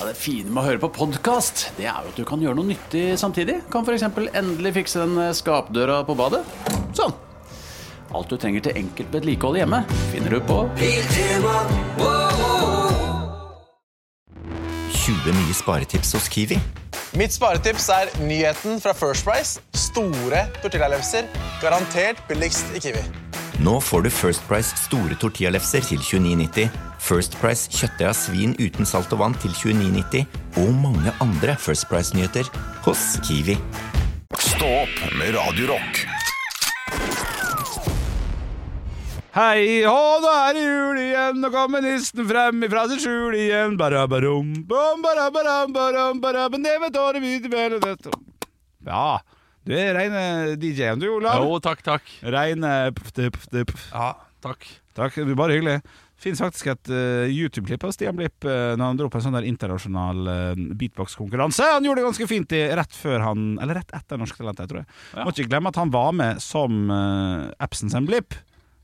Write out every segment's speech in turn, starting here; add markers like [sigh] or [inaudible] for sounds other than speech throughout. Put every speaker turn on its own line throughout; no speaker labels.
Ja, det fine med å høre på podkast, det er jo at du kan gjøre noe nyttig samtidig. Kan f.eks. endelig fikse den eh, skapdøra på badet. Sånn. Alt du trenger til enkelt vedlikehold hjemme, finner du på
20 nye sparetips hos Kiwi.
Mitt sparetips er nyheten fra First Price. Store tortillalefser. Garantert billigst i Kiwi.
Nå får du First Price store tortillalefser til 29,90, First Price kjøttdeig av svin uten salt og vann til 29,90 og mange andre First Price-nyheter hos Kiwi.
Stå opp med Radio Rock.
Hei hå, nå er det jul igjen, nå kommer nissen frem ifra sitt skjul igjen. Barabarom, bom, barabaram, baram, barabam, ned med tårer, hvite bjørner, dette. Ja, du er reine DJ-en du, Olav.
Jo, takk, takk.
Reine puff, det, puff, det, puff.
Ja, takk.
Takk, du er bare hyggelig. Finnes faktisk et eh, YouTube-klipp av Stian Blipp eh, når han dro på en sånn der internasjonal eh, beatbox-konkurranse. Han gjorde det ganske fint i, rett før han Eller rett etter Norske Talenter, tror jeg. Må ikke glemme at han var med som uh, Absen sin Blipp.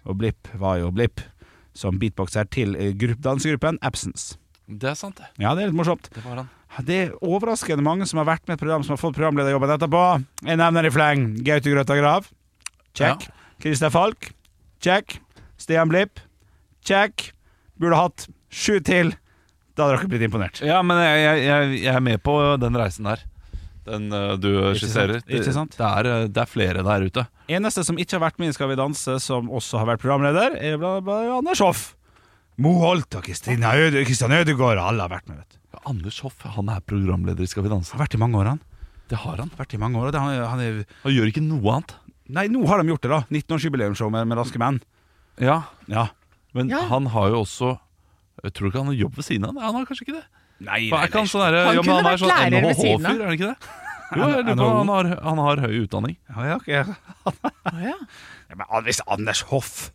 Og Blipp var jo Blipp, som beatboxer til eh, grupp, dansegruppen Absence.
Det er sant, det.
Ja, det er litt morsomt.
Det var han.
Det er overraskende mange som har vært med i et program som har fått programlederjobben etterpå. Jeg nevner i fleng Gaute Grøtta Grav. Check. Christer Falk. Check. Stian Blipp. Check. Burde hatt sju til. Da hadde dere blitt imponert.
Ja, men jeg, jeg, jeg, jeg er med på den reisen der. Den eh, du skisserer.
sant? Ikke sant?
Det, det, er, eh, det er flere der ute.
Eneste som ikke har vært med i Skal vi danse, som også har vært programleder, er bla, bla, Anders Hoff. Mo Holt og Kristina Øde, Kristian Ødegaard. Alle har vært med, vet du.
Ja, Anders Hoff han er programleder i Skal vi danse.
Har vært i mange år, han.
Det har han.
Vært i mange år, og det, han, han er,
Han gjør ikke noe annet.
Nei, nå har de gjort det, da. 19-årsjubileumsshow med, med Raske menn.
Ja,
Ja.
Men han har jo også jeg tror ikke han har jobb ved siden av. Nei, han har kanskje ikke det.
Nei,
Hva er ikke han sånn derre-
Han
ja, men
kunne
han er
vært
sånn
lærer ved
NHH-fyr,
siden av.
er han
[laughs]
ikke det? Jo, jeg lurer på,
NHO.
han, har, han har høy utdanning.
Ja, ja, ok. Ja, men hvis Anders Hoff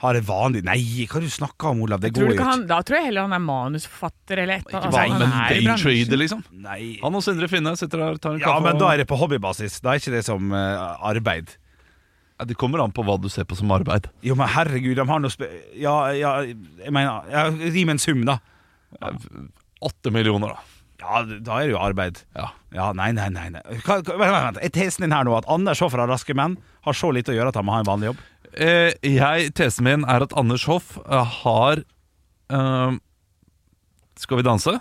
har en vanlig Nei, hva er det du snakker om, Olav? Det
Tror
går
du
jo
ikke
ikke.
han, da tror jeg heller han er manusforfatter eller et eller
Ikke
annet.
vanlig,
Altså,
men
han er i bransjen.
daytrader, liksom.
Nei.
Han og Sindre Finne sitter der og tar en
Ja,
kaffe.
men
og-
da er det på hobbybasis. Da er ikke det som eh, arbeid.
Ja, Det kommer an på hva du ser på som arbeid.
Jo, men herregud, de har noe spe... Ja, ja, jeg mener ja, Ri med en sum, da.
Åtte millioner, da.
Ja, da er det jo arbeid.
Ja.
Ja, nei, nei, nei. nei. Hva, hva, vent, vent, vent. Er tesen din her nå at Anders Hoff fra Raske menn har så lite å gjøre at han må ha en vanlig jobb?
Eh, jeg, tesen min er at Anders Hoff eh, har eh, Skal vi danse?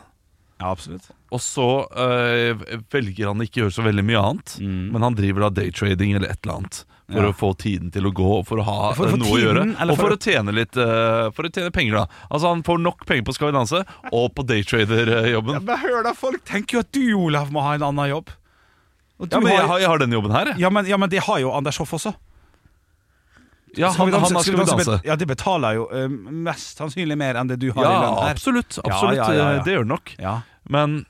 Ja, absolutt.
Og så eh, velger han ikke å gjøre så veldig mye annet, men han driver da daytrading eller et eller annet. For
Mm. Ja.
å få tiden til å gå, og for å ha
For å få
eh, noe å
tiden,
gjøre.
eller
Og
for
for
å-
å tjene litt eh, For å tjene penger, da. Altså Han får nok penger på Skal vi danse og på eh, daytrader-jobben.
Men hør da, folk tenker jo at du, Olav, må ha en annen jobb. Og du
Ja, men jeg
har-
har, jeg har den jobben her, jeg.
Ja, men, ja, men det har jo Anders Hoff også.
Ja, han, han har Skal vi danse.
bet- Ja, det betaler jo eh, mest sannsynlig mer enn det du har
Ja,
i lønn her.
absolutt.
Ja,
absolutt
ja, ja, ja.
eh, Det gjør det nok.
Ja.
Men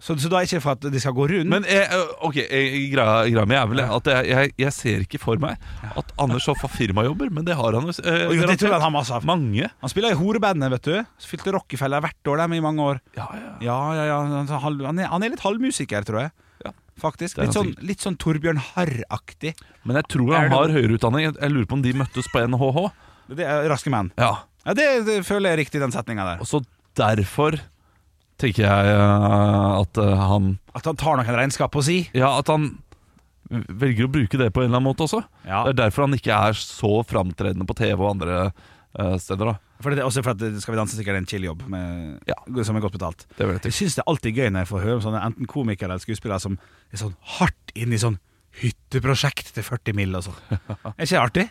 Så, så da er det ikke for at de skal gå rundt?
Men eh, jeg, ø, ok, jeg- greia, greia mi er vel at jeg, jeg, jeg ser ikke for meg at Anders Hoff har firmajobber, men det har han jo. s- ø,
Å, jo, det
garantert.
tror jeg han har masse av.
Mange.
Han spiller i horebandet, vet du. Så Fylte Rockefeller hvert år dem i mange år.
Ja, ja.
Ja, ja, ja. Han, han, er, han er litt halvmusiker, tror jeg.
Ja.
Faktisk.
Det er
Litt
han
sånn, litt sånn Torbjørn Harr-aktig.
Men jeg tror han har høyere utdanning. Jeg- Jeg lurer på om de møttes på NHH.
Det er Raske menn.
Ja,
Ja, det, det føler jeg er riktig, den setninga der.
og så derfor tenker jeg ø, at ø, han
At han tar noen regnskap på si.
Ja, at han velger å bruke det på en eller annen måte også.
Ja.
Det er derfor han ikke er så framtredende på TV og andre ø, steder, da.
For det, også for at det- Skal vi danse sikkert er en chill jobb, med, som er godt betalt.
Det vil jeg
Jeg
tenke.
syns det er alltid gøy når jeg får høre om sånne enten komikere eller skuespillere som er sånn hardt inn i sånn hytteprosjekt til 40 mill. og sånn. Er ikke det artig?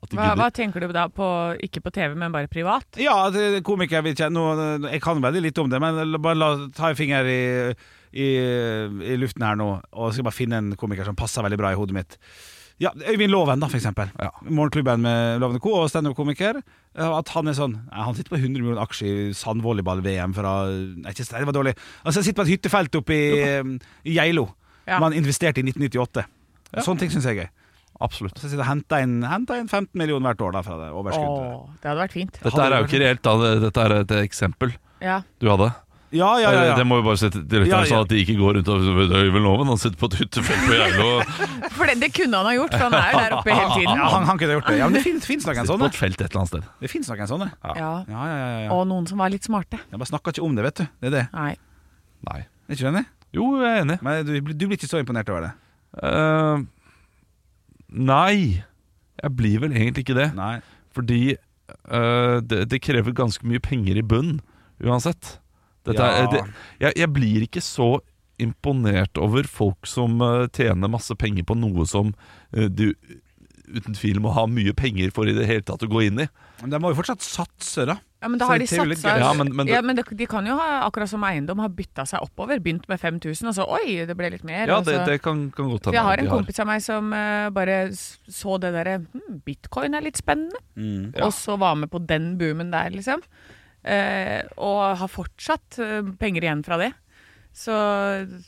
At de
Hva, hva
gidder.
tenker du da på, ikke på TV, men bare privat?
Ja, det- komikere vil kjenne nå- Jeg kan veldig lite om det, men la- bare la, ta en finger i, i, i luften her nå, og skal bare finne en komiker som passer veldig bra i hodet mitt. Ja, Øyvind Loven, da, for eksempel.
Ja.
Morgenklubben med Loven Co. og standup-komiker. Eh, At han er sånn nei, Han sitter på 100 millioner aksjer i sandvolleyball-VM fra Nei, ikke, nei, det var dårlig. Altså, han sitter på et hyttefelt oppe i, eh, i Geilo.
Ja.
Som han investerte i 1998. Sånne ting syns jeg er gøy.
Absolutt.
Så sitter han og henter inn, henter inn 15 millioner hvert år da, fra det overskuddet.
Åh, det hadde vært fint.
Dette her er jo ikke reelt, da. Dette er et eksempel
Ja.
du hadde.
Ja, ja, ja, ja.
Det må vi bare sette til rette
Ja,
her,
ja.
sånn at de ikke går rundt og bedøver loven. Han sitter på et hyttefelt på Geilo og
For det, det kunne han ha gjort, for han er jo der oppe hele
ja
tiden.
han, han kunne gjort det. Ja, men det fins- fins nok [laughs] en
sitter
sånn.
på
det.
et felt et eller annet sted.
Det fins nok en sånn, det.
Ja.
Ja, ja, ja, ja.
Og noen som var litt smarte.
Jeg bare snakker ikke om det, vet du. Det er det.
Nei.
Nei.
Er ikke du enig?
Jo, jeg er enig.
Men du, du blir ikke så imponert over det.
Eh, nei, jeg blir vel egentlig ikke det.
Nei.
Fordi eh, det, det krever ganske mye penger i bunn uansett. Dette er,
Ja.
det, jeg, jeg blir ikke så imponert over folk som eh, tjener masse penger på noe som eh, du uten tvil må ha mye penger for i det hele tatt å gå inn i.
Men de må jo fortsatt satse, da.
Ja, men da
Så
har
det
de
er jo litt
satsa
gøy.
Ja, men- men det-
ja, men de, de kan jo ha, akkurat som eiendom, ha bytta seg oppover. Begynt med 5000, og så oi, det ble litt mer.
Ja,
og
det,
så-
det kan, kan godt
For
hende.
jeg har
de
en kompis av meg som eh, bare s- så det derre hm, Bitcoin er litt spennende.
Mm,
Og så var med på den boomen der, liksom. Eh, og har fortsatt eh, penger igjen fra det. Så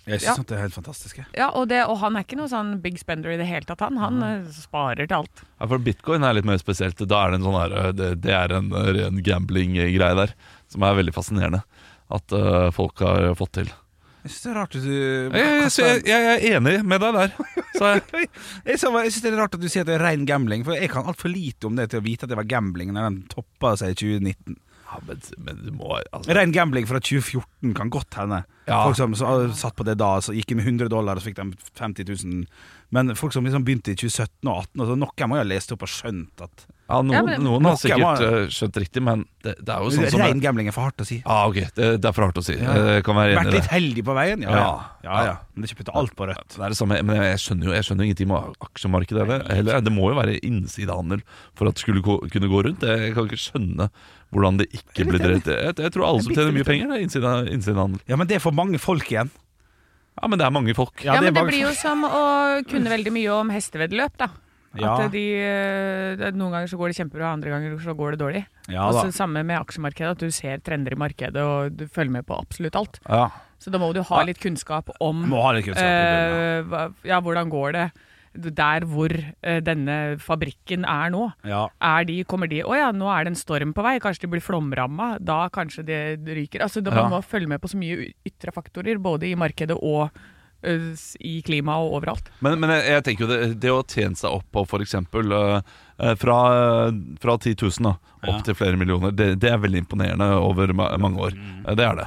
Jeg
ja.
synes at det er helt fantastisk. jeg.
ja og, det, og han er ikke noe sånn big spender i det hele tatt, han. Han
Mm.
eh, sparer til alt.
Ja, for bitcoin er litt mer spesielt. Da er det en sånn her, øh, det, det er en øh, ren gambling-greie der, som er veldig fascinerende. At øh, folk har fått til.
Jeg syns det er rart at du
Jeg, jeg,
kaster-
jeg, jeg er enig med deg der. Så jeg,
Jeg sa bare- jeg synes det er rart at du sier at det er ren gambling, for jeg kan altfor lite om det til å vite at det var gambling når den toppa seg i 2019.
[laughs] ja, men, men du må altså,
Ren gambling fra 2014 kan godt hende.
Ja.
Folk som så, eh, satt på det da, så gikk inn med 100 dollar, og så fikk de 50 000. Men folk som liksom begynte i 2017 og altså 2018, og så noen må jo ha lest opp og skjønt at
ja, noen,
Ja, men-
noen har
Nok, jeg må-
sikkert øh, skjønt riktig, men det, det er jo sånn som
Ren gambling er for hardt å si.
Ja, ok, det, det er for hardt å si.
Ja.
Jeg kan være
Vært
enig i det.
litt heldig på veien, ja.
Ja.
ja, ja. Men det er ikke putte alt på rødt.
Det er det samme, men jeg skjønner jo jeg skjønner ingenting med aksjemarkedet heller. heller. Det må jo være innsidehandel for at det skulle gå- kunne gå rundt. Jeg kan ikke skjønne hvordan det ikke ble drevet. Jeg, jeg tror alle som tjener mye penger, det er innside- innsidehandel.
Ja, men det er for mange folk igjen.
Ja, men det er mange folk.
Ja, men det
bare-
blir jo som å kunne veldig mye om hesteveddeløp, da.
Ja.
At de, eh, det- noen ganger så går det kjempebra, andre ganger så går det dårlig.
Ja
og
da.
så Samme med aksjemarkedet, at du ser trender i markedet og du følger med på absolutt alt.
Ja.
Så da må du ha litt kunnskap om
Må ha litt kunnskap. i bunnen,
eh, hva- ja, hvordan går det der hvor eh, denne fabrikken er nå.
ja.
Er de, kommer de Å ja, nå er det en storm på vei, kanskje de blir flomramma. Da kanskje det ryker. Altså, da, Man må følge med på så mye ytre faktorer, både i markedet og eh, s- i klimaet og overalt.
[laughs]
Men, men jeg, jeg tenker jo det, det å tjene seg opp på f.eks. Uh, fra, eh, fra 10 000 da, opp til flere millioner, det, det er veldig imponerende over ma mange år. Eh, Det er det.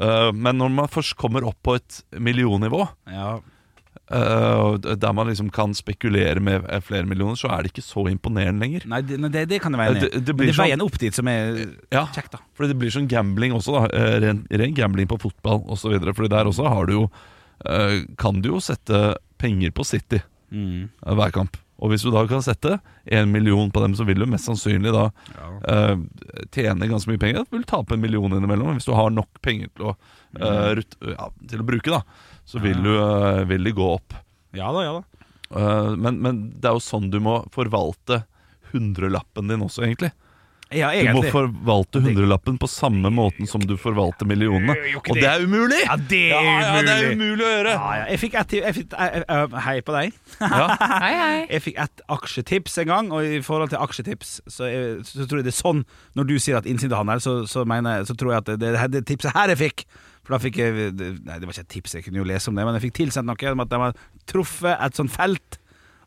Eh, men når man først kommer opp på et millionnivå,
Ja. ja.
eh, og der man liksom kan spekulere med eh, flere millioner, så er det ikke så imponerende lenger.
Nei, det, nei, det, det kan jeg være enig i.
Det- det
Men
blir
det er
sånn-
veien opp dit som er
Ja,
kjekt, da.
Fordi det blir sånn gambling også, da. Eh, Ren, ren gambling på fotball osv. Fordi der også har du jo eh, Kan du jo sette penger på City eh, hver kamp. Og hvis du da kan sette én million på dem, så vil du mest sannsynlig da eh, tjene ganske mye penger. Du vil tape en million innimellom. Men Hvis du har nok penger til å, eh, rut, ja, til å bruke, da, så vil, du, eh, vil de gå opp.
Ja da, ja da.
Eh, men, men det er jo sånn du må forvalte hundrelappen din også, egentlig.
Ja,
Du må
egentlig.
forvalte hundrelappen på samme måten som du forvalter millionene. Og det er umulig!
Ja, det
Ja,
er
ja, det er
umulig!
umulig å gjøre!
Ja, ja. Jeg fikk et jeg fikk, eh, eh, Hei på deg.
Ja.
Hei, hei.
Jeg fikk et aksjetips en gang, og i forhold til aksjetips, så, jeg, så tror jeg det er sånn Når du sier at innsidehandel, så, så, mener, jeg- så tror jeg at det, det, det tipset her jeg fikk For da fikk jeg det, Nei, det var ikke et tips, jeg kunne jo lese om det, men jeg fikk tilsendt noe om at de har truffet et sånt felt.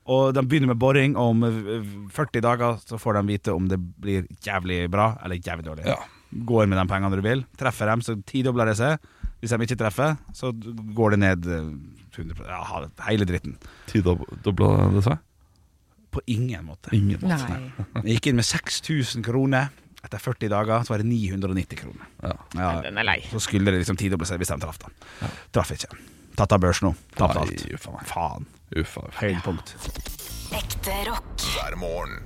Og de begynner med boring, og om eh, 40 dager så får de vite om det blir jævlig bra eller jævlig dårlig.
Ja.
Går med de pengene du vil. Treffer dem, så tidobler det seg. Hvis de ikke treffer, så går det ned eh, 100 Ja, hele dritten.
Tidobla det seg?
På ingen måte.
Ingen måte.
Nei.
Jeg gikk inn med 6000 kroner. Etter 40 dager så var det 990 kroner.
Ja.
Ja,
Den er lei.
så skulle det liksom tidoble seg hvis de traff, da. Traff ikke. Tatt av børs nå. Tapt alt.
Nei, uff a meg.
Faen.
Uff a meg.
Høydepunkt.
Ekte rock.
hver morgen.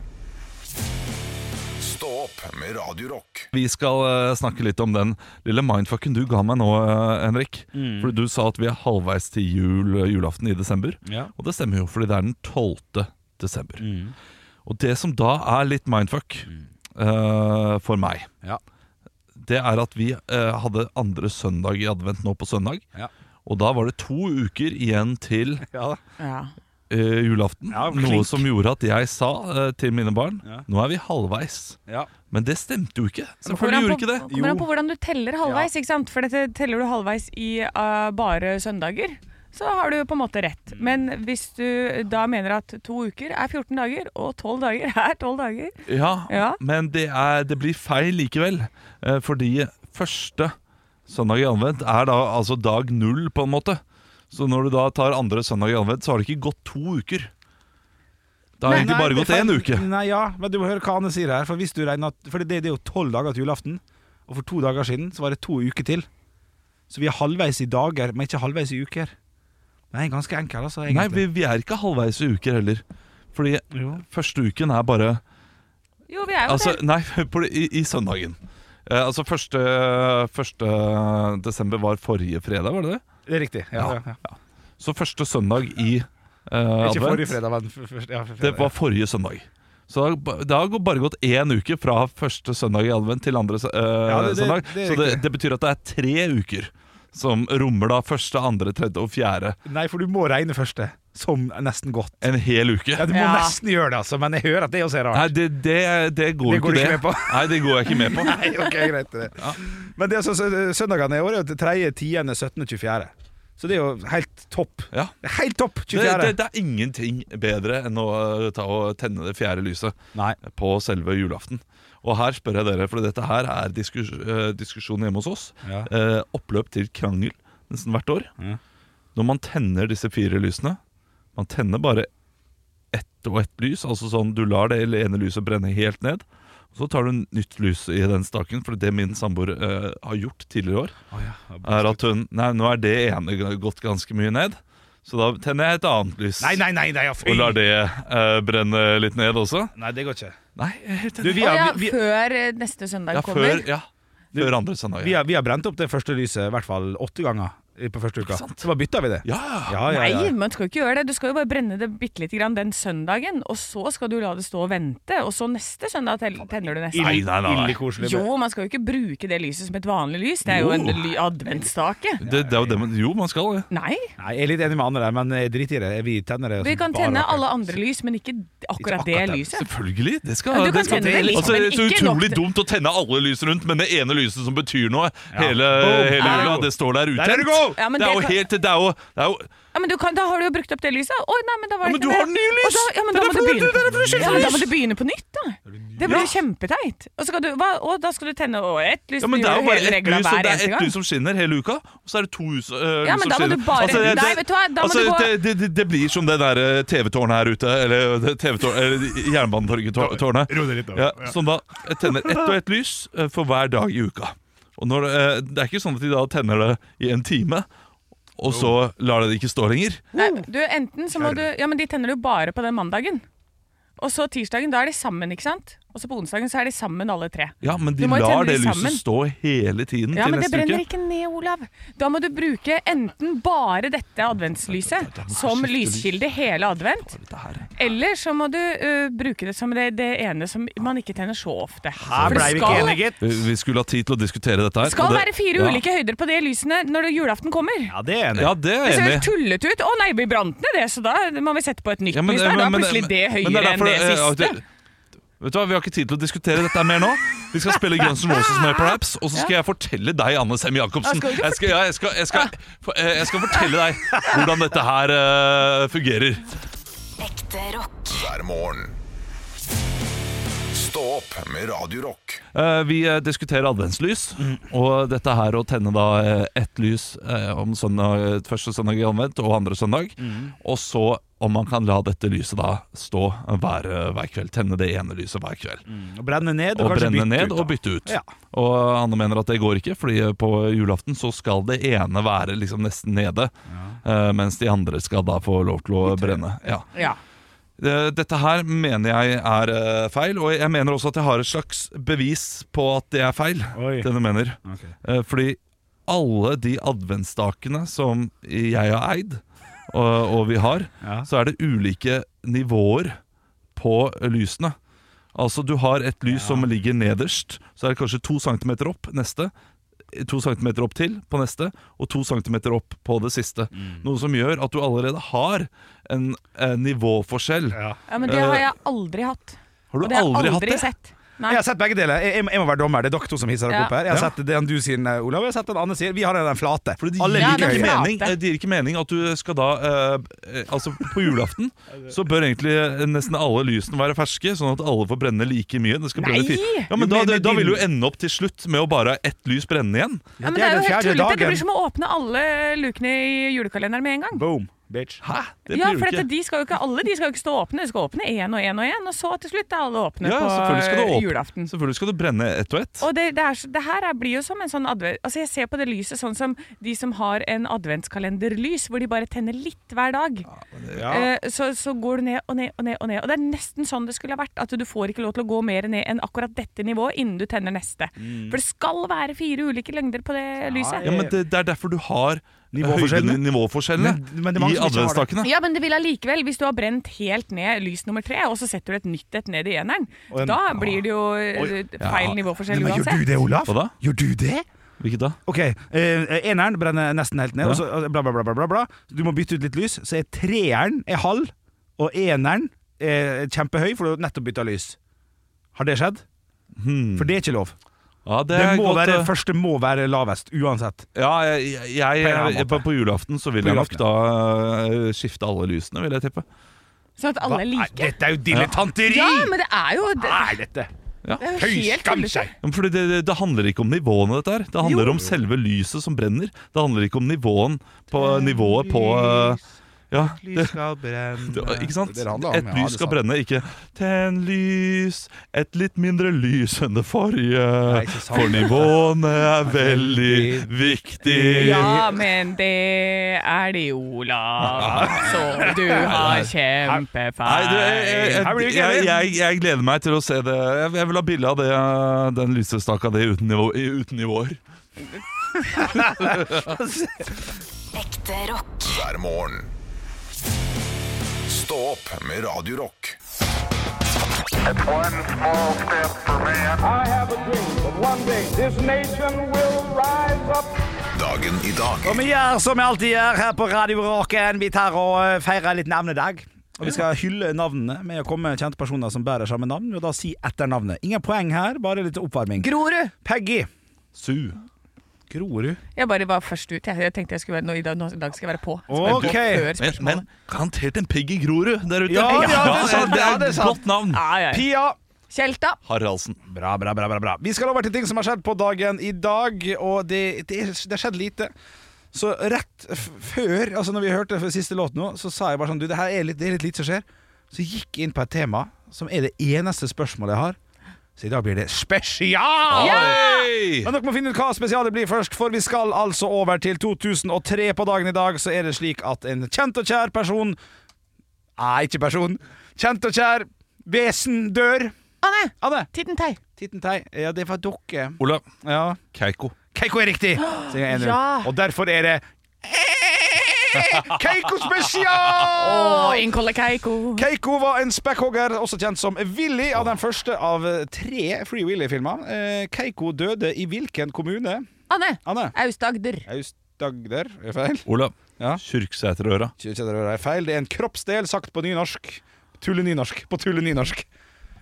Stå opp med Radio Rock.
Vi skal eh, snakke litt om den lille mindfucken du ga meg nå, eh, Henrik.
Mm.
Fordi du sa at vi er halvveis til jul, eh, julaften i desember.
Ja. Mm.
Og det stemmer jo, fordi det er den 12. desember. Og det som da er litt mindfuck eh, for meg,
Ja.
det er at vi eh, hadde andre søndag i advent nå på søndag.
Ja.
Og da var det to uker igjen til
[laughs] Ja da.
Ja.
eh, julaften.
Ja,
noe
klink.
som gjorde at jeg sa eh, til mine barn
Ja.
Nå er vi halvveis.
Ja.
Men det stemte jo ikke.
Kommer
Selvfølgelig
an
gjorde
på-
ikke det.
Kommer an på hvordan du teller halvveis, ikke sant? For dette teller du halvveis i eh, bare søndager. Så har du på en måte rett. Men hvis du da mener at to uker er 14 dager, og 12 dager [laughs] er 12 dager
Ja,
Ja.
Men det, er, det blir feil likevel. eh, Fordi første søndag i advent er da altså dag null, på en måte. Så når du da tar andre søndag i advent, så har det ikke gått to uker. Det har egentlig bare gått én uke.
Nei, ja, men du må høre hva Anne sier her. For, hvis du regner, at- for det, det er jo tolv dager til julaften, og for to dager siden så var det to uker til. Så vi er halvveis i dager, men ikke halvveis i uker. Nei, ganske enkel, altså.
Nei,
Egentlig.
vi, vi er ikke halvveis i uker heller. Fordi
Jo.
første uken er bare
Jo, vi er jo
Altså,
det.
nei, [laughs] på, i, i søndagen. Eh, altså første, første desember var forrige fredag, var det det?
Det er riktig. Ja, ja. Ja,
Så første søndag i eh,
Ikke
advent.
forrige fredag, men f- først- ja, fredag.
Det var forrige søndag. Så da- det har gått- bare gått én uke fra første søndag i advent til andre sø- eh,
det- det-
søndag.
det er
så det,
riktig.
det betyr at det er tre uker som rommer da første, andre, tredje og fjerde.
Nei, for du må regne første som nesten godt.
En hel uke.
Ja, Du må
Ja.
nesten gjøre det, altså, men jeg hører at det også er
Nei,
[laughs] rart.
det, det, det går
Det går
ikke,
du ikke
det.
med på.
[laughs] Nei, det går jeg ikke med på.
Nei, ok, greit det. Men det er altså sø- søndagene i år er jo 3., 10., 17. og 24. Så det er jo helt topp.
Ja.
Det er Helt topp!
Det,
24.
det, det er ingenting bedre enn å eh, ta og tenne det fjerde lyset
Nei.
på selve julaften. Og her spør jeg dere, for dette her er diskus eh, diskusjon hjemme hos oss.
Ja.
Eh, oppløp til krangel nesten hvert år.
Ja.
Når man tenner disse fire lysene Man tenner bare ett og ett lys. Altså sånn, Du lar det ene lyset brenne helt ned. Og så tar du nytt lys i den staken, for det min samboer eh, har gjort tidligere i år er at hun Nei, nå er det ene g- gått ganske mye ned, så da tenner jeg et annet lys.
Nei, nei, nei, nei ja, fy.
Og lar det eh, brenne litt ned også.
Nei, det går ikke.
Nei, helt
Du,
enig.
vi
Å ja,
har, vi, vi,
før eh, neste søndag
Ja,
kommer.
før, ja, før andre søndag.
vi, har, vi har brent opp det første lyset i hvert fall åtte ganger i- på første uka. Så bare bytta vi det.
Ja, ja.
ja, ja.
Nei, man skal jo ikke gjøre det. Du skal jo bare brenne det bitte lite grann den søndagen, og så skal du la det stå og vente, og så neste søndag tel- tenner du neste.
Nei, nei, nei, nei.
Ille koselig.
Jo, man skal jo ikke bruke det lyset som et vanlig lys. Det er jo en ly adventsstake.
Det, det er jo det man Jo, man skal det.
Nei.
Nei, jeg er litt enig med Anne der, men jeg driter i det. Vi tenner det.
Altså,
Vi
som
kan
bare
tenne
rakker.
alle andre lys, men ikke d- akkurat
akkurat
det
den.
lyset.
Selvfølgelig. Det skal,
Ja, du kan
det skal
tenne det litt,
altså,
men
det er så
ikke nok
utrolig
til-
dumt å tenne alle lys rundt, men det ene lyset som betyr noe hele,
Boom. Der
hele
er
jula,
du god.
det står der
Der er du
uttent.
god!
Ja, men
det er
det
jo
kan-
helt Det er jo, det er jo
Ja, men du kan, Da har du jo brukt opp det lyset. Å, nei, men da var
Ja, men
det
du har nye lys!
Og Da, ja,
Det
men da
er
må
derfor
du
du-
begynne,
det er derfor du skifter
ja, men da må
lys!
du begynne på nytt, da. Det blir jo kjempeteit. Og, så skal du, hva, og da skal du tenne å, ett lys.
Ja, men
du
det er jo
gjør
bare
hele
ett
regla
lys, og
hver
det er
eneste
ett
gang.
lys som skinner hele uka. Og så er det to hus, øh,
Ja,
lys
men
som
da må
skinner.
du bare-
Altså, det,
Nei, vet du hva, da må
altså,
du bare-
det, det, det blir som det der eh, TV-tårnet her ute, eller det TV-tårn- eller Jernbanetorget-tårnet.
Ro deg litt, da.
Ja, som da eh, tenner ett og ett lys eh, for hver dag i uka. Og når, eh, det er ikke sånn at de da tenner det i en time, og så lar det ikke stå lenger.
Nei, du, enten så må du Ja, men de tenner du bare på den mandagen. Og så tirsdagen, da er de sammen, ikke sant? Og så på onsdagen så er de sammen alle tre.
Ja, men
Du
de
må jo
lar
tenne
det
de
lyset
sammen.
stå hele tiden
Ja,
til
men det
neste
brenner
uke.
ikke ned, Olav. Da må du bruke enten bare dette adventslyset som lyskilde hele advent, eller så må du ø, bruke det som det, det ene som man ikke tenner så ofte.
Her
For det
ble vi ikke
skal-
enige, gitt.
Vi vi skulle ha tid til å diskutere dette her.
Det skal
og det-
være fire
ja.
ulike høyder på de lysene når det- julaften kommer.
Ja, det er jeg enig. i.
Ja, det er
Det
jeg
ser
enig
helt
i.
tullete ut. Å nei, vi brant ned det, så da må vi sette på et nytt
Ja, men-
lys. Da er da
men-
plutselig
men-
det
men er
høyere enn
derfor,
det
eh,
siste.
at- Vet du hva, Vi har ikke tid til å diskutere dette mer nå. Vi skal
[laughs]
spille Guns N' Roses med Perhaps, og så skal jeg fortelle deg, Anne Sem Jacobsen
Ja, skal du ikke
jeg skal, ja, jeg, skal, jeg, skal, for- eh, jeg skal fortelle deg hvordan dette her eh, fungerer.
Ekte rock.
hver morgen. Stå opp med Radio Rock.
Eh, vi eh, diskuterer adventslys, og dette her å tenne da eh, ett lys eh, om søndag, første søndag i advent og andre søndag,
Mm.
og så om man kan la dette lyset da stå hver, eh, hver kveld. Tenne det ene lyset hver kveld.
Og brenne ned og,
Og
kanskje
brenne
bytte
ned
ut. da.
og bytte ut.
Ja.
Og Anne mener at det går ikke, fordi på julaften så skal det ene være liksom nesten nede, eh, mens de andre skal da få lov til å brenne. Ja.
Ja.
Eh, Dette her mener jeg er eh, feil, og jeg mener også at jeg har et slags bevis på at det er feil.
Oi.
Det du mener.
Ok.
Eh, Fordi alle de adventstakene som jeg har eid, og, og vi har,
Ja.
så er det ulike nivåer på lysene. Altså Du har et lys som ligger nederst, så er det kanskje to centimeter opp. Neste to centimeter opp til på neste, og to centimeter opp på det siste.
Mm.
Noe som gjør at du allerede har en, eh, nivåforskjell.
Ja, men det har jeg aldri hatt.
Har du
Og det har jeg
aldri,
aldri,
hatt det?
sett. Nei.
Jeg har sett begge deler. Jeg, jeg, må- jeg må være dommer. Det er dere to som hisser dere
Ja.
opp her. Jeg har sett den du sier, eh, Olav. Jeg har sett den andre sier. Vi har den flate.
For det
Alle
gir,
Ja,
liker
den
ikke
høyre.
flate.
mening, eh, det gir ikke mening at du skal da eh, eh, Altså, på julaften så bør egentlig eh, nesten alle lysene være ferske, sånn at alle får brenne like mye. Det skal brenne
Nei!
ti- Ja,
Jo,
men da,
men med
da vil du
din-
ende opp til slutt med å bare ha ett lys brenne igjen.
Ja, men det er jo helt
fjerde
tullete. Det
dagen.
blir som å åpne alle lukene i julekalenderen med en gang.
Boom, bitch.
Hæ? Det
Ja,
blir
for
jo
dette,
ikke
de skal jo ikke, alle de skal jo ikke stå åpne. De skal åpne én og én og én, og så til slutt er alle åpne
ja, selvfølgelig skal, du
på eh,
åpne,
julaften.
selvfølgelig skal du brenne ett og ett.
Og det, det, er, så- det her er, blir jo som en sånn advent... Altså Jeg ser på det lyset sånn som de som har en adventskalenderlys, hvor de bare tenner litt hver dag.
Ja.
Eh, så, så går du ned og ned og ned. Og ned Og det er nesten sånn det skulle ha vært. At du får ikke lov til å gå mer ned enn akkurat dette nivået innen du tenner neste. For det skal være fire ulike lengder på det lyset.
Mm. Ja, men det, det er derfor du har
Nivåforskjellene.
høyden- nivåforskjellene
Men- men det er mange som
i
ikke har det.
adventsstakene.
Ja, men det vil allikevel, hvis du har brent helt ned lys nummer tre, og så setter du et nytt et ned i eneren,
Og en-
da blir det jo eh, feil nivåforskjell
Men gjør du
uansett.
det, Olav?
Hva da?
Gjør du det?
Hvilket da?
Ok, eh, eneren brenner nesten helt ned, og så og bla, bla, bla, bla, bla, bla. Du må bytte ut litt lys, så er treeren er halv, og eneren er kjempehøy, for du har nettopp bytta lys. Har det skjedd?
Hmm.
For det er ikke lov.
Ja, det
Det,
er
må
godt,
være,
eh,
første må være lavest, uansett.
Ja, jeg, jeg, jeg,
en annen
på,
måte.
på julaften så vil
På
jeg nok
julaften.
da eh, skifte alle lysene, vil jeg tippe.
Sånn at alle er
Nei,
like.
dette er jo dilettanteri!
Ja, men det er jo det,
Hva er dette?
det er
Høy
jo helt
skam
tullete.
seg!
Ja, men Fordi det, det- det handler ikke om nivåene, dette her. Det handler om selve lyset som brenner. Det handler ikke om nivåen på nivået på eh, Ja, det,
skal brenne
det, ikke sant?
Det er han da,
Et
men ja, det
lys
er
skal
sant.
brenne, ikke 'tenn lys, et litt mindre lys enn det forrige',
ikke sant.
for
[laughs]
nivåene er veldig viktig.
Ja, men det er
[laughs]
det, Olav. Så du har
Nei, du, jeg, jeg,
kjempefeil.
Her blir
jeg,
vi ikke
jeg,
enige.
jeg, jeg gleder meg til å se det. Jeg, jeg vil ha bilde av det, eh, den lysestaka det uten, nivå, i- uten nivåer.
Ekte rock.
hver morgen. Stå opp med Radio Rock.
I have a dream that one day this nation will rise up.
Dagen i dag
Og vi gjør som vi alltid gjør her på Radio Råken. Vi tar og eh, feirer litt navnedag. Og vi skal hylle navnene med å komme med kjente personer som bærer samme navn. Og da si etter navnet. Ingen poeng her, bare litt oppvarming.
Grorud!
Peggy.
Su.
Grorud.
Jeg bare var først ut. Jeg, jeg tenkte jeg skulle være, nå, i, dag, nå, i dag skal jeg være på.
Ok.
Før
Men,
spørsmålet.
men garantert en pigg i Grorud der ute.
Ja, ja, det er sant,
det
ja,
er
det er
et
sant.
godt navn.
Ja, ja, ja.
Pia.
Kjelta.
Haraldsen.
Bra, bra, bra, bra, bra. Vi skal over til ting som har skjedd på dagen i dag, og det, det, er- det har skjedd lite. Så rett f før, altså når vi hørte f- siste låt nå, så sa jeg bare sånn Du, det her er litt, det er litt lite som skjer. Så gikk jeg inn på et tema som er det eneste spørsmålet jeg har. Så i dag blir det spesial!
Oi!
Men dere må finne ut hva spesialet blir først, for vi skal altså over til 2003 på dagen i dag. Så er det slik at en kjent og kjær person Nei, ikke person. Kjent og kjær vesen dør.
Anne!
Anne,
Titten Tei.
Titten Tei. Ja, det var dere.
Olav
Ja.
Keiko.
Keiko er riktig! Så jeg er enig.
Ja.
Og derfor er det Keiko
Og
spesial!
Inkolle Keiko.
Keiko var en spekkhogger, også kjent som Willy, av den første av tre Free Willy-filmer. Eh, Keiko døde i hvilken kommune?
Anne.
Anne?
Aust-Agder.
Aust-Agder? Er feil?
Olav
Ja.
Kyrksæterøra.
Ikke kjenner dere det er feil. Det er en kroppsdel sagt på nynorsk. Tullenynorsk. På tullenynorsk.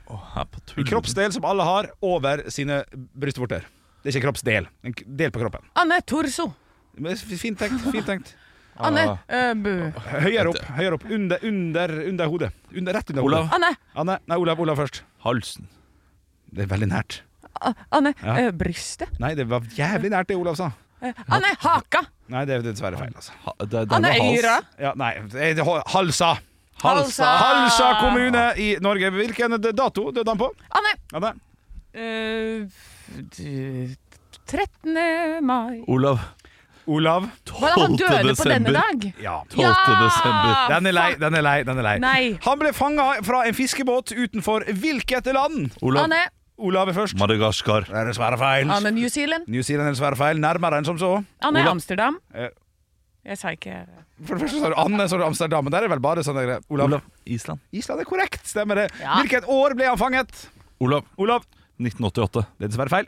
Her på
En
tull.
kroppsdel som alle har over sine brystvorter. Det er ikke en kroppsdel. En k- del på kroppen.
Anne Torso.
Men f- Fint tenkt. fint tenkt
Anne
Ah.
øh, bu.
Høyere opp. høyere opp Under, under, under hodet. Under, rett under
Olav.
hodet.
Anne.
Anne, nei, Olav, Olav først.
Halsen.
Det er veldig nært.
A- Anne
Ja.
øh, Brystet.
Nei, det var jævlig nært det Olav sa.
Eh, Anne Haka.
Nei, det er dessverre feil. altså
Ha, det, det
Anne
var hals.
Øyra.
Ja, nei, eh, det- Halsa!
Halsa.
Halsa kommune i Norge. Hvilken dato døde han på?
Anne
Anne?
øh, d- 13. mai.
Olav
Olav?
Var det
12.
han døde på denne
desember.
dag?
Ja.
12. desember.
Den er lei, den er lei. den er lei
Nei.
Han ble fanga fra en fiskebåt utenfor hvilket land?
Olav
Anne,
Olav er først.
Madagaskar.
Det er dessverre feil.
Anne New Zealand.
New Zealand er dessverre feil. Nærmere enn som så.
Anne
Olav.
Amsterdam.
Eh.
Jeg sa ikke
For det første sa du Anne, så sa du Amsterdam. Men der er vel bare sånne greier. Olav.
Olav Island.
Island er korrekt, stemmer det.
Ja.
Hvilket år ble han fanget?
Olav
Olav.
1988.
Det er dessverre feil.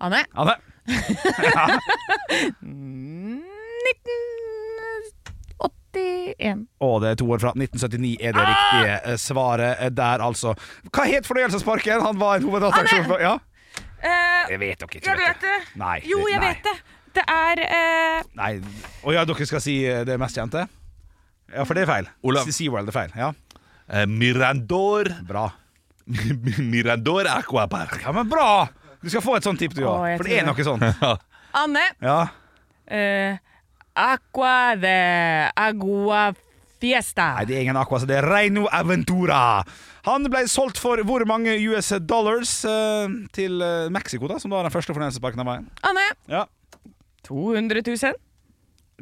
Anne
Anne.
1981.
Og det er to år fra 1979 er det riktige eh, svaret eh, der, altså. Hva het fornøyelsesparken? Han var en hovedattraksjon for Ja?
Eh,
Jeg vet dere ikke.
jeg vet det.
Nei,
Jo, jeg
nei.
vet det. Det er eh,
Nei. Å ja, dere skal si eh, det mest kjente? Ja, for det er feil.
Olav.
Si SeaWorld er feil. Ja,
Eh, Mirandor
bra.
[laughs] Mirandor Aquapark.
Ja, men bra! Du skal få et sånt tipp, du
Å,
òg.
jeg
For det er
tror
noe sånt. [laughs]
Anne.
Ja.
Eh, aqua de agua fiesta.
Nei, det er ingen Aqua, så det er Reino Aventura. Han ble solgt for hvor mange US dollars eh, til eh, Mexico, da, som da var den første fornøyelsesparken av veien?
Anne.
Ja.
200 000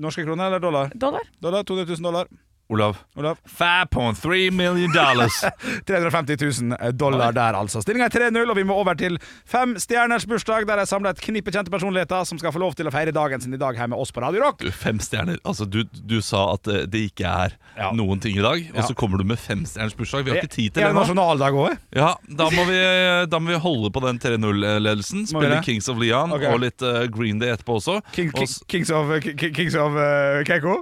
Norske kroner eller dollar?
dollar.
Dollar, 200 000 dollar.
Olav.
Olav? [laughs]
5.3 million dollars.
350 000 dollar der, altså. Stillinga er 3-0, og vi må over til Fem stjerners bursdag, der jeg samler et knippe kjente personligheter som skal få lov til å feire dagen sin i dag her med oss på Radio Rock.
Du, Fem stjerner. Altså, du, du sa at eh, det ikke er
Ja.
noen ting i dag, og
Ja.
så kommer du med femstjerners bursdag. Vi har ikke tid til
Er det
det nå.
nasjonaldag eh? òg?
Ja, da må vi, eh, da må vi holde på den 3-0-ledelsen.
Må vi
Spille
det?
Kings of Leon
Ok.
og litt eh, Green Day etterpå også.
King,
Og
King,
s-
Kings of, Ki- Ki- Kings of eh, Keiko?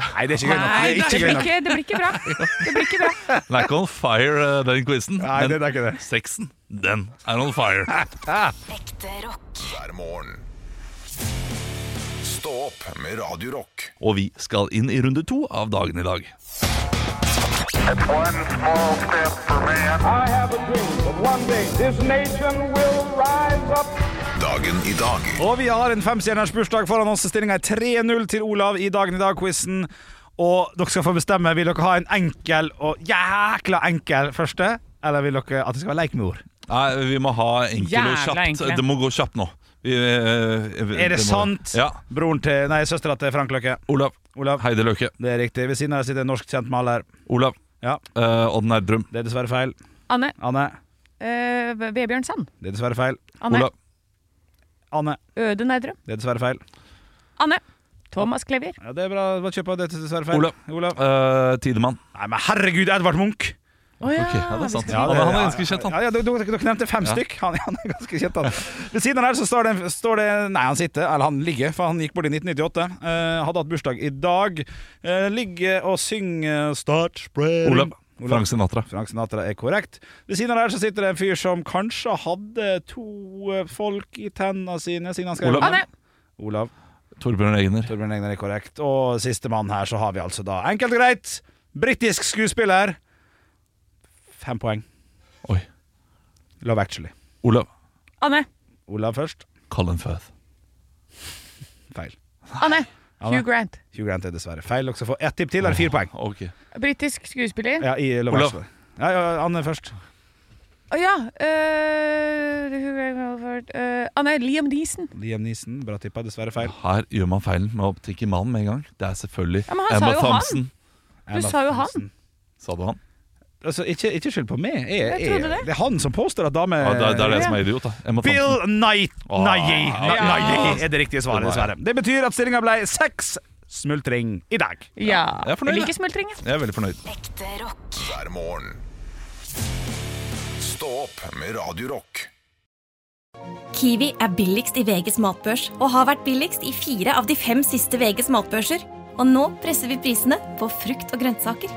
Nei, det er ikke gøy nok. Det er
det
ikke gøy
blir
nok.
ikke, det blir ikke bra. Det blir ikke bra.
Den er ikke on fire, eh, den quizen.
Nei, den er ikke det.
Sexen, den er on fire.
Ekte rock.
hver morgen. Stå opp med Radio Rock.
Og vi skal inn i runde to av dagen i dag.
It's one small step for man. I have a dream that one day this nation will rise up.
Dagen i dag
Og vi har en femstjerners bursdag foran oss. Stillinga er 3-0 til Olav i Dagen i dag-quizen. Og dere skal få bestemme. Vil dere ha en enkel og jækla enkel første? Eller vil dere at det skal være leik med ord?
Nei, vi må ha enkel og
Jævla
kjapt.
enkle.
Det må gå kjapt nå. Vi, eh, eh,
Er det
må-
sant?
Ja.
Broren til, nei, Søstera til Frank Løkke.
Olav.
Olav.
Heide Løke.
Det er riktig. Ved siden av deg sitter en norsk kjent maler.
Olav.
Ja,
Uh, Odd Nerdrum.
Det er dessverre feil.
Anne.
Anne.
eh, Vebjørn Sand.
Det er dessverre feil.
Anne.
Olav.
Anne.
Øde Nerdrum.
Det er dessverre feil.
Anne. Thomas Klevier.
Ja, Det er bra. Hva kjøper jeg? Det er dessverre feil.
Olav. Eh, Tidemann.
Nei, men herregud, Edvard Munch!
Å ja,
Ok, ja, det er sant.
Ja, det-
han, er, han
ja,
er ganske kjent, han.
Ja, ja, dere, dere- dere nevnte fem stykk. Han, han er ganske kjent, han. Ved siden av her så står det, står det Nei, han sitter, eller han ligger, for han gikk bort i 1998. Eh, hadde hatt bursdag i dag. Eh, ligger og synger Start spreading
Olav.
Olav.
Frank Sinatra.
Frank Sinatra er korrekt. Ved siden av der så sitter det en fyr som kanskje hadde to eh, folk i tennene sine siden han skrev
Olav.
den.
Anne.
Olav.
Torbjørn Egner.
Torbjørn Egner er korrekt. Og sistemann her så har vi altså da, enkelt og greit, britisk skuespiller. Fem poeng.
Oi.
Love Actually.
Olav.
Anne.
Olav først.
Colin Firth.
Feil.
Anne.
Anne.
Hugh Grant.
Hugh Grant er dessverre feil. Dere skal få ett tipp til, eller fire poeng.
Ok.
Britisk skuespiller.
Ja, i Love
Olav.
Actually. Ja, ja, Anne først.
Å ja. eh, Hugh Grant Halford, eh, Anne. Liam Neeson.
Liam Neeson, bra tippa, dessverre feil.
Her gjør man feilen med å tikke mannen med en gang. Det er selvfølgelig
Ja, men han sa
Emma
jo han.
Thompson.
Emma
sa jo han.
Thompson.
Sa du han?
Altså, ikke, ikke skyld på meg. Jeg,
Jeg trodde det.
det er han som påstår at damer
Ja, det, er, det er det
Eh,
som er idiot, da. Emma Thompson.
Bill Knight
Ah,
Nye
ja.
er det riktige svaret,
Det var
dessverre. Det betyr at stillinga ble seks smultring i dag.
Ja.
jeg er fornøyd,
Jeg liker
jeg.
smultringer.
Jeg er veldig fornøyd.
Ekte rock.
hver morgen. Stå opp med Radio Rock.
Kiwi er billigst i VGs matbørs og har vært billigst i fire av de fem siste VGs matbørser. Og nå presser vi prisene på frukt og grønnsaker.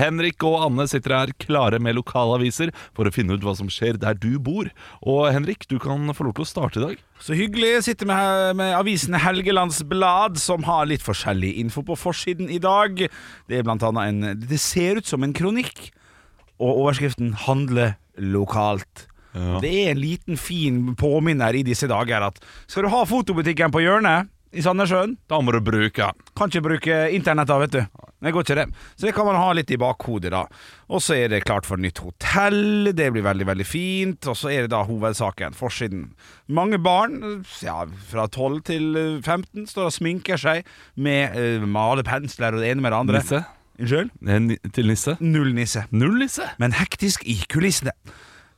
Henrik og Anne sitter her klare med lokalaviser for å finne ut hva som skjer der du bor. Og Henrik, du kan få lov til å starte i dag.
Så hyggelig. Jeg Sitter med, med avisen Helgelands Blad, som har litt forskjellig info på forsiden i dag. Det er blant annet en Det ser ut som en kronikk, og overskriften 'Handle lokalt'. Det er en liten fin påminner i disse dager at skal du ha fotobutikken på hjørnet i Sandnessjøen,
Da må du bruke
Kan ikke bruke internett da, vet du. Det går ikke det. Så det kan man ha litt i bakhodet, da. Og så er det klart for nytt hotell. Det blir veldig, veldig fint. Og så er det da hovedsaken, forsiden. Mange barn, ja, fra 12 til eh, 15, står og sminker seg med eh, malepensler og det ene med det andre.
nisse.
Unnskyld?
Eh, ni- Til nisse?
Null nisse.
Null nisse!
men hektisk i kulissene.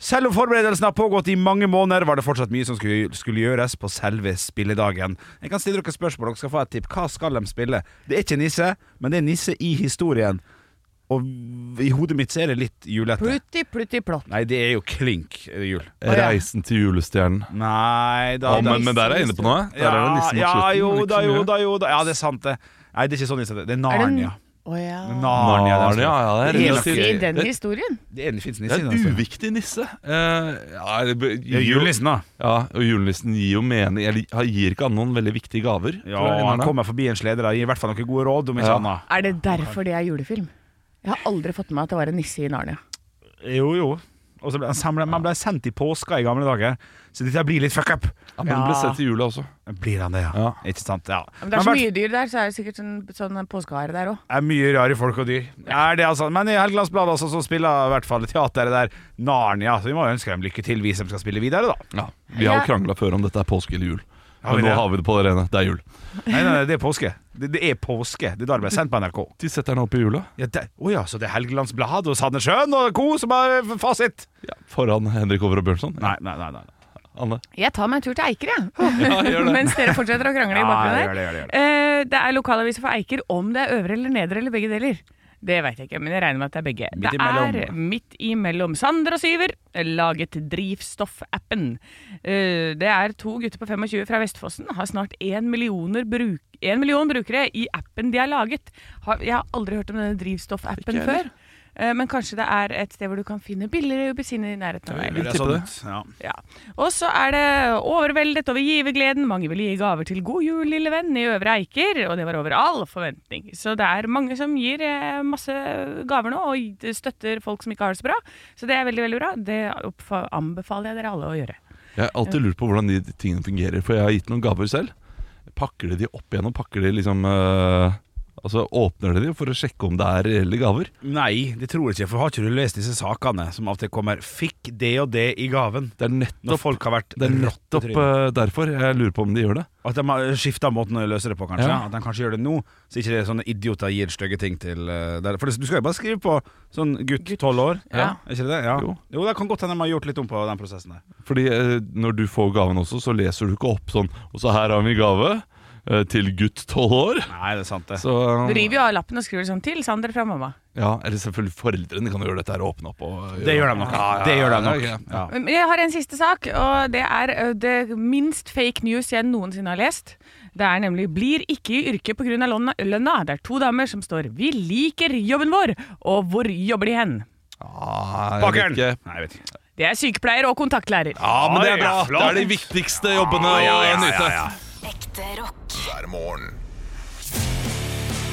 Selv om forberedelsene har pågått i mange måneder, var det fortsatt mye som skulle, skulle gjøres på selve spilledagen. Jeg kan stille dere spørsmål, dere skal få et tipp. Hva skal de spille? Det er ikke nisse, men det er nisse i historien. Og i hodet mitt så er det litt julete.
Plutti, plutti, plott.
Nei, det er jo klink eh, jul.
ja.
Reisen til julestjernen.
Nei da,
Å,
da-
men, men der er jeg inne på noe. Der
ja,
er det nisse mot
ja,
slutten.
jo
er det ikke
da,
så
jo
mye?
da, jo da. Ja, det er sant, det. Nei, det er ikke sånn nisse. Det er Narnia.
Å ja.
Narnia, det er
Narnia, ja, det er
Helt-
relativt-
I den historien?
Det er en fins
Det
nisse.
er
altså.
en uviktig nisse. Eh, ja, eller b-
Det er
gir jo-
julenissen, da.
Ja, og julenissen gir jo mening Eller han gir ikke han noen veldig viktige gaver.
Ja,
tror jeg,
han
Narnia.
kommer forbi en sleder og gir i hvert fall noen gode råd. om ikke
Ja.
annet.
Er det derfor det er julefilm? Jeg har aldri fått med meg at det var en nisse i Narnia.
Jo, jo. Og så ble han samlet, Man ble sendt i påska i gamle dager, så dette blir litt fuck up.
Ja, men den ble
Ja.
sett i jula også.
Blir han det, ja.
Ja.
Ikke sant? ja.
Men det er så
hvert-
mye dyr der, så er det sikkert sånn, sånn påskehare der òg.
det er mye rare folk og dyr. Er det altså, Men i Helgelandsbladet også, så spiller i hvert fall teateret der Narnia, så vi må ønske dem lykke til, vi som skal spille videre, da.
Ja, Vi har jo
Ja.
krangla før om dette er påske eller jul.
Har vi
Men nå
det?
har vi det på det rene. Det er jul.
Nei, nei, nei, det er påske. Det, det er påske. Det er da det ble sendt på NRK.
De setter den opp i jula.
Ja, det, å ja, så det er Helgelandsbladet og Sandnessjøen og co. som har eh, fasit?
Ja, foran Henrik Over og Bjørnson.
Nei, nei, nei. nei.
Anne.
Jeg tar meg en tur til Eiker, [laughs] jeg.
Ja, gjør det.
Mens dere fortsetter å krangle i
Ja,
bakgrunnen
gjør
her.
det, gjør det, gjør det.
Eh, det er lokalaviser for Eiker om det er øvre eller nedre eller begge deler. Det veit jeg ikke, men jeg regner med at det er begge.
Midt
det
imellom.
er midt imellom Sander og Syver, laget drivstoffappen. Eh, det er to gutter på 25 fra Vestfossen, har snart én millioner bruk en million brukere i appen de har laget. Har, jeg har aldri hørt om denne drivstoffappen før. Eh, Men kanskje det er et sted hvor du kan finne billigere ubesinn i nærheten av deg.
Det er
tipper
sånt, Ja.
Ja. Og så er det overveldet over givergleden. Mange vil gi gaver til God jul, lille venn, i Øvre Eiker. Og det var over all forventning. Så det er mange som gir eh, masse gaver nå, og støtter folk som ikke har det så bra. Så det er veldig, veldig bra. Det oppfa- anbefaler jeg dere alle å gjøre.
Jeg har alltid lurt på hvordan de tingene fungerer, for jeg har gitt noen gaver selv. Pakker de de opp igjen, og pakker de liksom eh, Altså åpner de de for å sjekke om det er reelle gaver?
Nei, det tror jeg ikke, for har ikke du lest disse sakene som alltid kommer 'fikk det og det i gaven'?
Det er nettopp,
Når folk har vært
det er
rått i
nettopp
trynet.
eh, derfor jeg lurer på om de gjør det.
At de har skifta måten å løse det på, kanskje.
Ja.
At de kanskje gjør det nå, så ikke det er sånne idioter gir stygge ting til eh, der. For det- du skal jo bare skrive på sånn gutt tolv år,
Ja.
er ikke det? Ja. Jo.
Jo.
det kan godt hende de har gjort litt om på den prosessen der.
Fordi eh, når du får gaven også, så leser du ikke opp sånn Og så her har vi gave eh, til gutt tolv år.
Nei, det er sant, det.
Så,
Du river jo av lappen og skriver sånn 'Til Sander fra mamma'.
ja, eller selvfølgelig foreldrene kan jo gjøre dette her og åpne opp. Og, gjøre-
det gjør de nok.
Ja, ja,
det gjør de
ja,
nok.
ja, ja.
Ja.
Men Jeg har en siste sak, og det er ø, det minst fake news jeg noensinne har lest. Det er nemlig 'Blir ikke i yrket pga. lønna'. Det er to damer som står 'Vi liker jobben vår', og 'Hvor jobber de hen?'
Ah, jeg
Bakeren!
vet ikke.
Nei, jeg vet ikke.
Det er sykepleier og kontaktlærer.
Ja, men det er
Ja,
bra. Det er de viktigste jobbene å nyte.
Ekte rock.
hver morgen.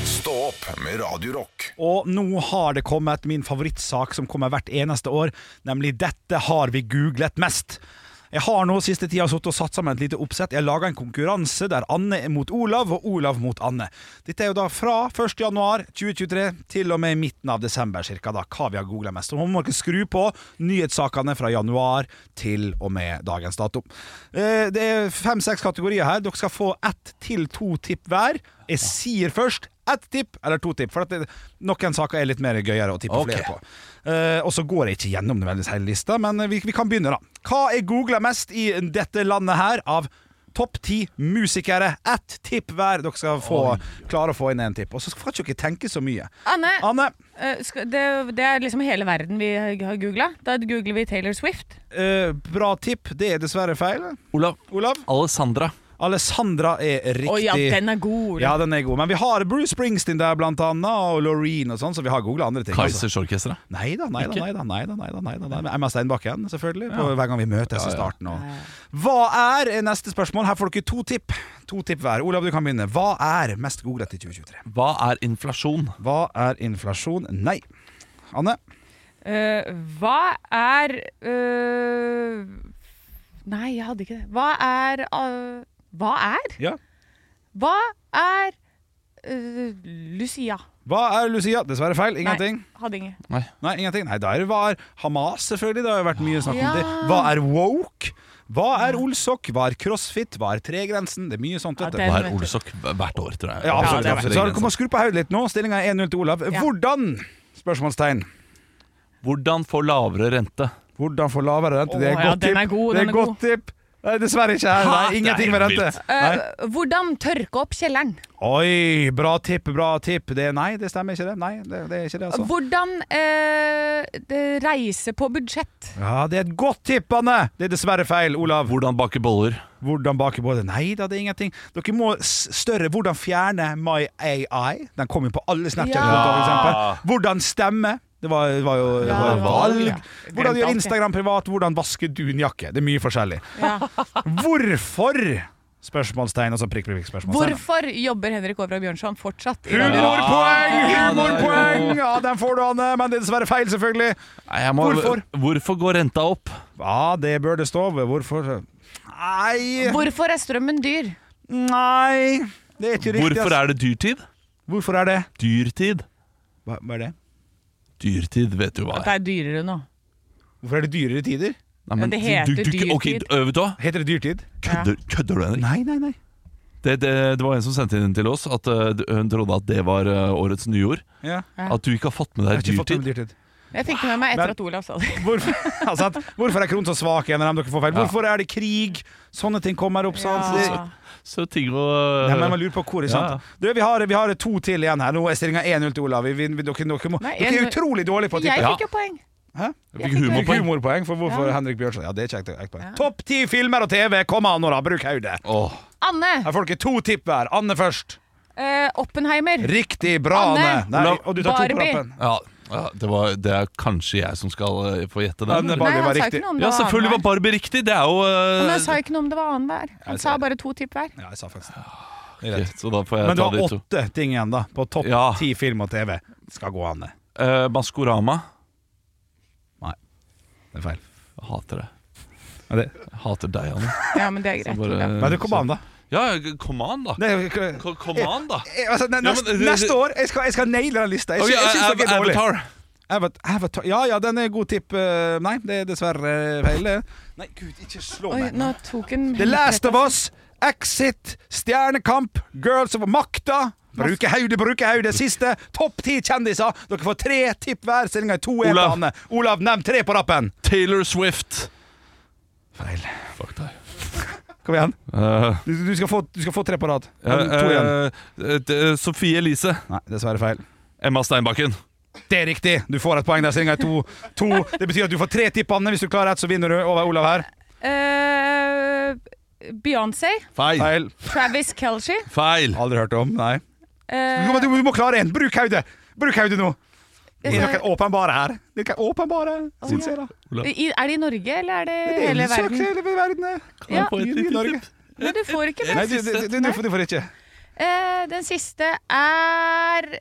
Stå opp med Radio Rock.
Og nå har det kommet min favorittsak som kommer hvert eneste år, nemlig 'Dette har vi googlet mest'. Jeg har nå siste tida suttet og satt sammen et lite oppsett. Jeg laga en konkurranse der Anne er mot Olav og Olav mot Anne. Dette er jo da fra 1.1.2023 til og med midten av desember, cirka da, hva vi har googla mest. Så nå må dere skru på nyhetssakene fra januar til og med dagens dato. Eh, Det er fem-seks kategorier her. Dere skal få ett til to tipp hver. Jeg sier først ett tipp eller to tipp. For at det, noen saker er litt mer gøyere å tippe flere på. Eh, og så går jeg ikke gjennom nødvendigvis hele lista, men eh, vi, vi kan begynne, da. Hva er googla mest i dette landet her av topp ti musikere? Ett tipp hver. Dere skal få, klare å få inn én tipp. Og så får ikke dere tenke så mye.
Anne,
Anne,
ø, skal- det, det er liksom hele verden vi har googla. Da googler vi Taylor Swift.
eh, bra tipp. Det er dessverre feil.
Olav.
Olav?
Alessandra.
Alessandra er riktig.
Å ja, den er god.
Ja, den er god. Men vi har Bruce Springsteen der, blant annet, og Loreen og sånn, så vi har googla andre ting. altså.
Kaizers orkestra.
Nei da, nei da, nei da. nei da, nei da, nei da, nei da. Emma Steinbakken, selvfølgelig. På hver gang vi møtes i starten. Og. Hva er er neste spørsmål? Her får dere to tipp. To tipp hver. Olav, du kan begynne. Hva er mest googlet i 2023?
Hva er inflasjon?
Hva er inflasjon? Nei. Anne?
Eh, hva er eh, Nei, jeg hadde ikke det. Hva er eh, Hva er?
Ja.
Hva er eh, Lucia?
Hva er Lucia? Dessverre feil. Ingenting.
Nei, hadde ingen.
Nei, ingenting. Nei, da er det hva er Hamas, selvfølgelig. Det har jo vært mye snakk om
Ja.
det. Hva er woke? Hva er olsokk? Hva er crossfit? Hva er tregrensen? Det er mye sånt.
Ja,
dette.
den
Hva er
vet du.
Olsok hvert år, tror jeg.
Ja, absolutt.
Ja, det er
absolutt. Så dere kommer skru på hodet litt nå. Stillinga er 1-0 til Olav.
Ja.
Hvordan? Spørsmålstegn.
Hvordan få lavere rente?
Hvordan få lavere rente? Det er
Å,
et
ja,
godt
den
tipp.
er god,
det
den
er
er
godt
god.
tipp. Nei, dessverre ikke her.
Ha,
Nei, ingenting med
det er
rente.
vilt.
Eh,
Nei.
hvordan tørke opp kjelleren?
Oi, bra tipp, bra tipp. Det, nei, det stemmer ikke det. Nei, det, det er ikke det, altså.
Hvordan eh, det- reise på budsjett?
Ja, det er et godt tipp, Anne. Det er dessverre feil, Olav.
Hvordan bake boller?
Hvordan bake både? Nei da, det er ingenting. Dere må s- større. Hvordan fjerne My AI? Den kom jo på alle Snapchat-kontoer, for eksempel. Hvordan stemme? Det var, det var jo det var
Ja,
valg.
ja.
Hvordan
Glemte alt,
gjøre
jeg.
Instagram privat? Hvordan vaske dunjakke? Det er mye forskjellig. Hvorfor? Spørsmålstegn, altså prikk, prikk, prikk, spørsmålstegn.
Hvorfor jobber Henrik Overhaug Bjørnson fortsatt? i Radio Nova?
Humorpoeng! Humorpoeng! Ja, den får du, Anne, men det er dessverre feil, selvfølgelig.
Nei, jeg må-
Hvorfor?
Hvorfor går renta opp?
Ja, det bør det stå. Hvorfor? Nei
Hvorfor er strømmen dyr?
Nei, det er ikke riktig.
Hvorfor
ass.
er det dyrtid?
Hvorfor er det?
Dyrtid?
Hva, hva er det?
Dyrtid vet du hva
At
er.
det er dyrere nå.
Hvorfor er det dyrere tider?
Nei,
men det heter
ok,
dyrtid.
øh, vet du hva?
Heter det dyrtid?
Kødder, kødder du, Henrik?
Nei, nei, nei.
Det, det, det var en som sendte inn til oss at øh, hun trodde at det var øh, årets nyord.
Ja.
Ja.
At du ikke har fått
Jeg
med
har
deg
ikke fått det med
dyrtid.
dyrtid.
Jeg fikk det med meg
Men-
etter at Olav sa det.
Hvorfor, [laughs] ja, sant? Hvorfor er kronen så svak igjen når dere får feil? Hvorfor er det krig? Sånne ting kommer opp. Sant?
Ja.
Så ting å
Nei, men man lurer på hvor, ikke
Ja.
sant? Du, vi, har, vi har to til igjen her. Nå er stillinga 1-0 til Olav. Vi, vi, dere, dere, må,
Nei,
dere er
1-0.
utrolig
[laughs]
dårlige på å
Jeg
tippe.
fikk jo poeng.
Hæ?
Fikk
Jeg
Fikk
humorpoeng.
humorpoeng for hvorfor
Ja.
Henrik Bjørnson. Ja, det er kjekt. det er kjekt poeng. Topp ti filmer og TV! Kom an, Nora, bruk hodet!
Åh,
Anne!
Her får dere to tipp hver. Anne først.
Eh, Oppenheimer.
Riktig bra,
Anne.
Anne! Nei,
Olav.
og du tar to på
Barbie.
rappen.
ja, ja det, var, det er kanskje jeg som skal øh, få gjette
Ja,
den.
men
eller?
Barbie var
Nei, han sa
riktig.
ikke noe om det
Ja,
var
selvfølgelig var
annenhver.
Barbie riktig! Det er jo øh,
Men han sa ikke noe om det var annenhver. Han sa bare to tipp hver.
Ja, jeg sa faktisk det.
ok, Så da får jeg
Men du
Eh, ta
har
de to.
åtte ting igjen, da. På topp
Ja.
ti film og TV. Skal gå, Anne.
Eh, Maskorama.
Det er feil.
Jeg hater det.
Ja, det-
Jeg hater deg,
[laughs]
Anne.
Ja, men det er
Så
greit.
bare-
Olav.
Men det kom an, da.
Ja, ja, kom an, da.
Det, jeg,
Ko- Kom an, da.
altså, ne-
men-
neste, neste år jeg skal jeg skal naile den lista. Jeg,
Ok,
sy- jeg syns dere er dårlige.
Avatar.
Avat- Avatar. Ja ja, den er god tipp. eh, Nei, det er dessverre feil. det. Nei, gud, ikke slå
Oi,
meg.
nå tok hun
The Last of Us, Exit, Stjernekamp, Girls of Makta. Bruke hodet, bruke hodet. Siste topp ti kjendiser. Dere får tre tipp hver. Stillinga er 2-1 til
Olav.
Anne. Olav, nevn tre på rappen.
Taylor Swift.
Feil.
Fuck deg.
Kom igjen. Du, du, skal, få, du skal få tre på rad.
Eh,
Eller Eh, To igjen.
eh, eh, Sofie Elise.
Nei, dessverre feil.
Emma Steinbakken.
Det er riktig! Du får et poeng der. Stillinga er to, to. Det betyr at du får tre tipp, Anne. Hvis du klarer ett, så vinner du over Olav her.
Eh, Beyoncé.
Feil. Feil.
Feil.
Travis Kelshi.
Aldri hørt om. Nei. Du,
eh,
må- du, må- du må klare én. Bruk hodet! Bruk hodet nå! Det er
eh,
noen åpenbare her. Det er noen åpenbare, syns jeg, da.
i- Er det i Norge, eller er det,
Det er
hele
jo sak
verden?
hele verden.
Kan
Ja.
jeg få et
I- i
lite
Norge.
tipp?
Men du får ikke
Nei,
mer.
du, du, du, du, får- du får ikke.
Eh, den siste er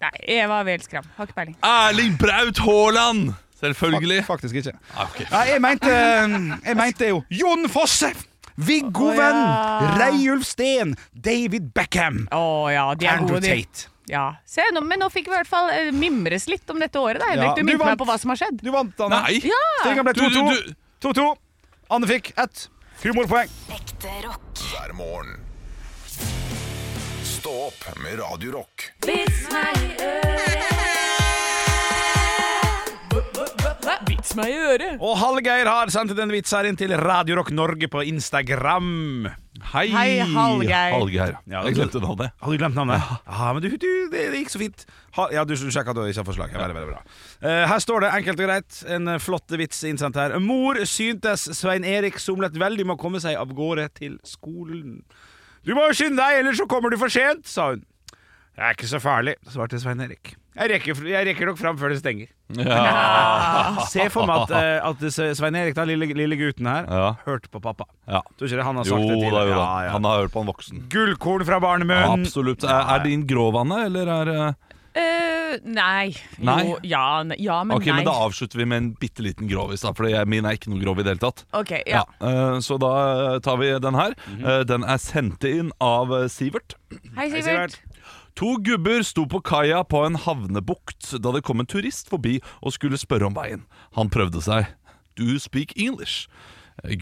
Nei, Eva Weel Skram. Har ikke peiling.
Erling Braut Haaland! Selvfølgelig.
Fak- Faktisk ikke.
Ah, ok.
Nei, jeg mente, eh, jeg mente jo Jon Fosse! Viggo
Å, ja.
Venn! Reiulf Steen! David Beckham!
Å ja, de er
Andrew
gode, de.
Tate.
Ja. Se, nå, men nå fikk vi i hvert fall eh, mimres litt om dette året, da,
Ja,
Henrik. Du
du
minnet meg
vant.
på hva som har skjedd.
Du vant, Anne.
Nei!
Stillingen ble
Du, du,
2-2.
du.
2-2. Anne fikk ett humorpoeng.
Ekte rock.
hver morgen. Stå opp med Radio Rock.
Vits meg i øret.
Og Hallgeir har sendt en vits her inn til Radio Rock Norge på Instagram.
Hei,
Hei, Hallgeir.
Hallgeir.
Ja,
jeg glemte det. det.
Har du glemt navnet? Ja, men du, du, det, det gikk så fint. Ha, ja, du, du sjekka at du ikke har forslag. Ja, veldig, veldig bra. Eh, her står det enkelt og greit en eh, flott vits innsendt her. Mor syntes Svein Erik somlet veldig med å komme seg av gårde til skolen. Du må jo skynde deg, ellers så kommer du for sent, sa hun. Det er ikke så farlig, svarte Svein Erik. Jeg rekker, jeg rekker nok fram før det stenger. Se for meg at, eh, at S- Svein Erik, den lille, lille gutten her,
Ja.
hørte på pappa.
Ja.
Tror ikke det han har
Jo
sagt det
da,
tidligere.
jo da.
Ja, ja.
Han har hørt på en voksen.
Gullkorn fra barnemunn.
Absolutt. Er, er din gråvanne, eller er eh,
Eh, nei.
Nei?
Jo, ja, ne, ja, men
Ok,
nei.
men Da avslutter vi med en bitte liten grovis, da, for jeg- min er ikke noe grov i det hele tatt.
Ok, ja.
eh, Så da eh, tar vi den her. Eh, Den er sendt inn av eh, Sivert.
Hei, Sivert.
To gubber sto på kaia på en havnebukt da det kom en turist forbi og skulle spørre om veien. Han prøvde seg. Do you speak English?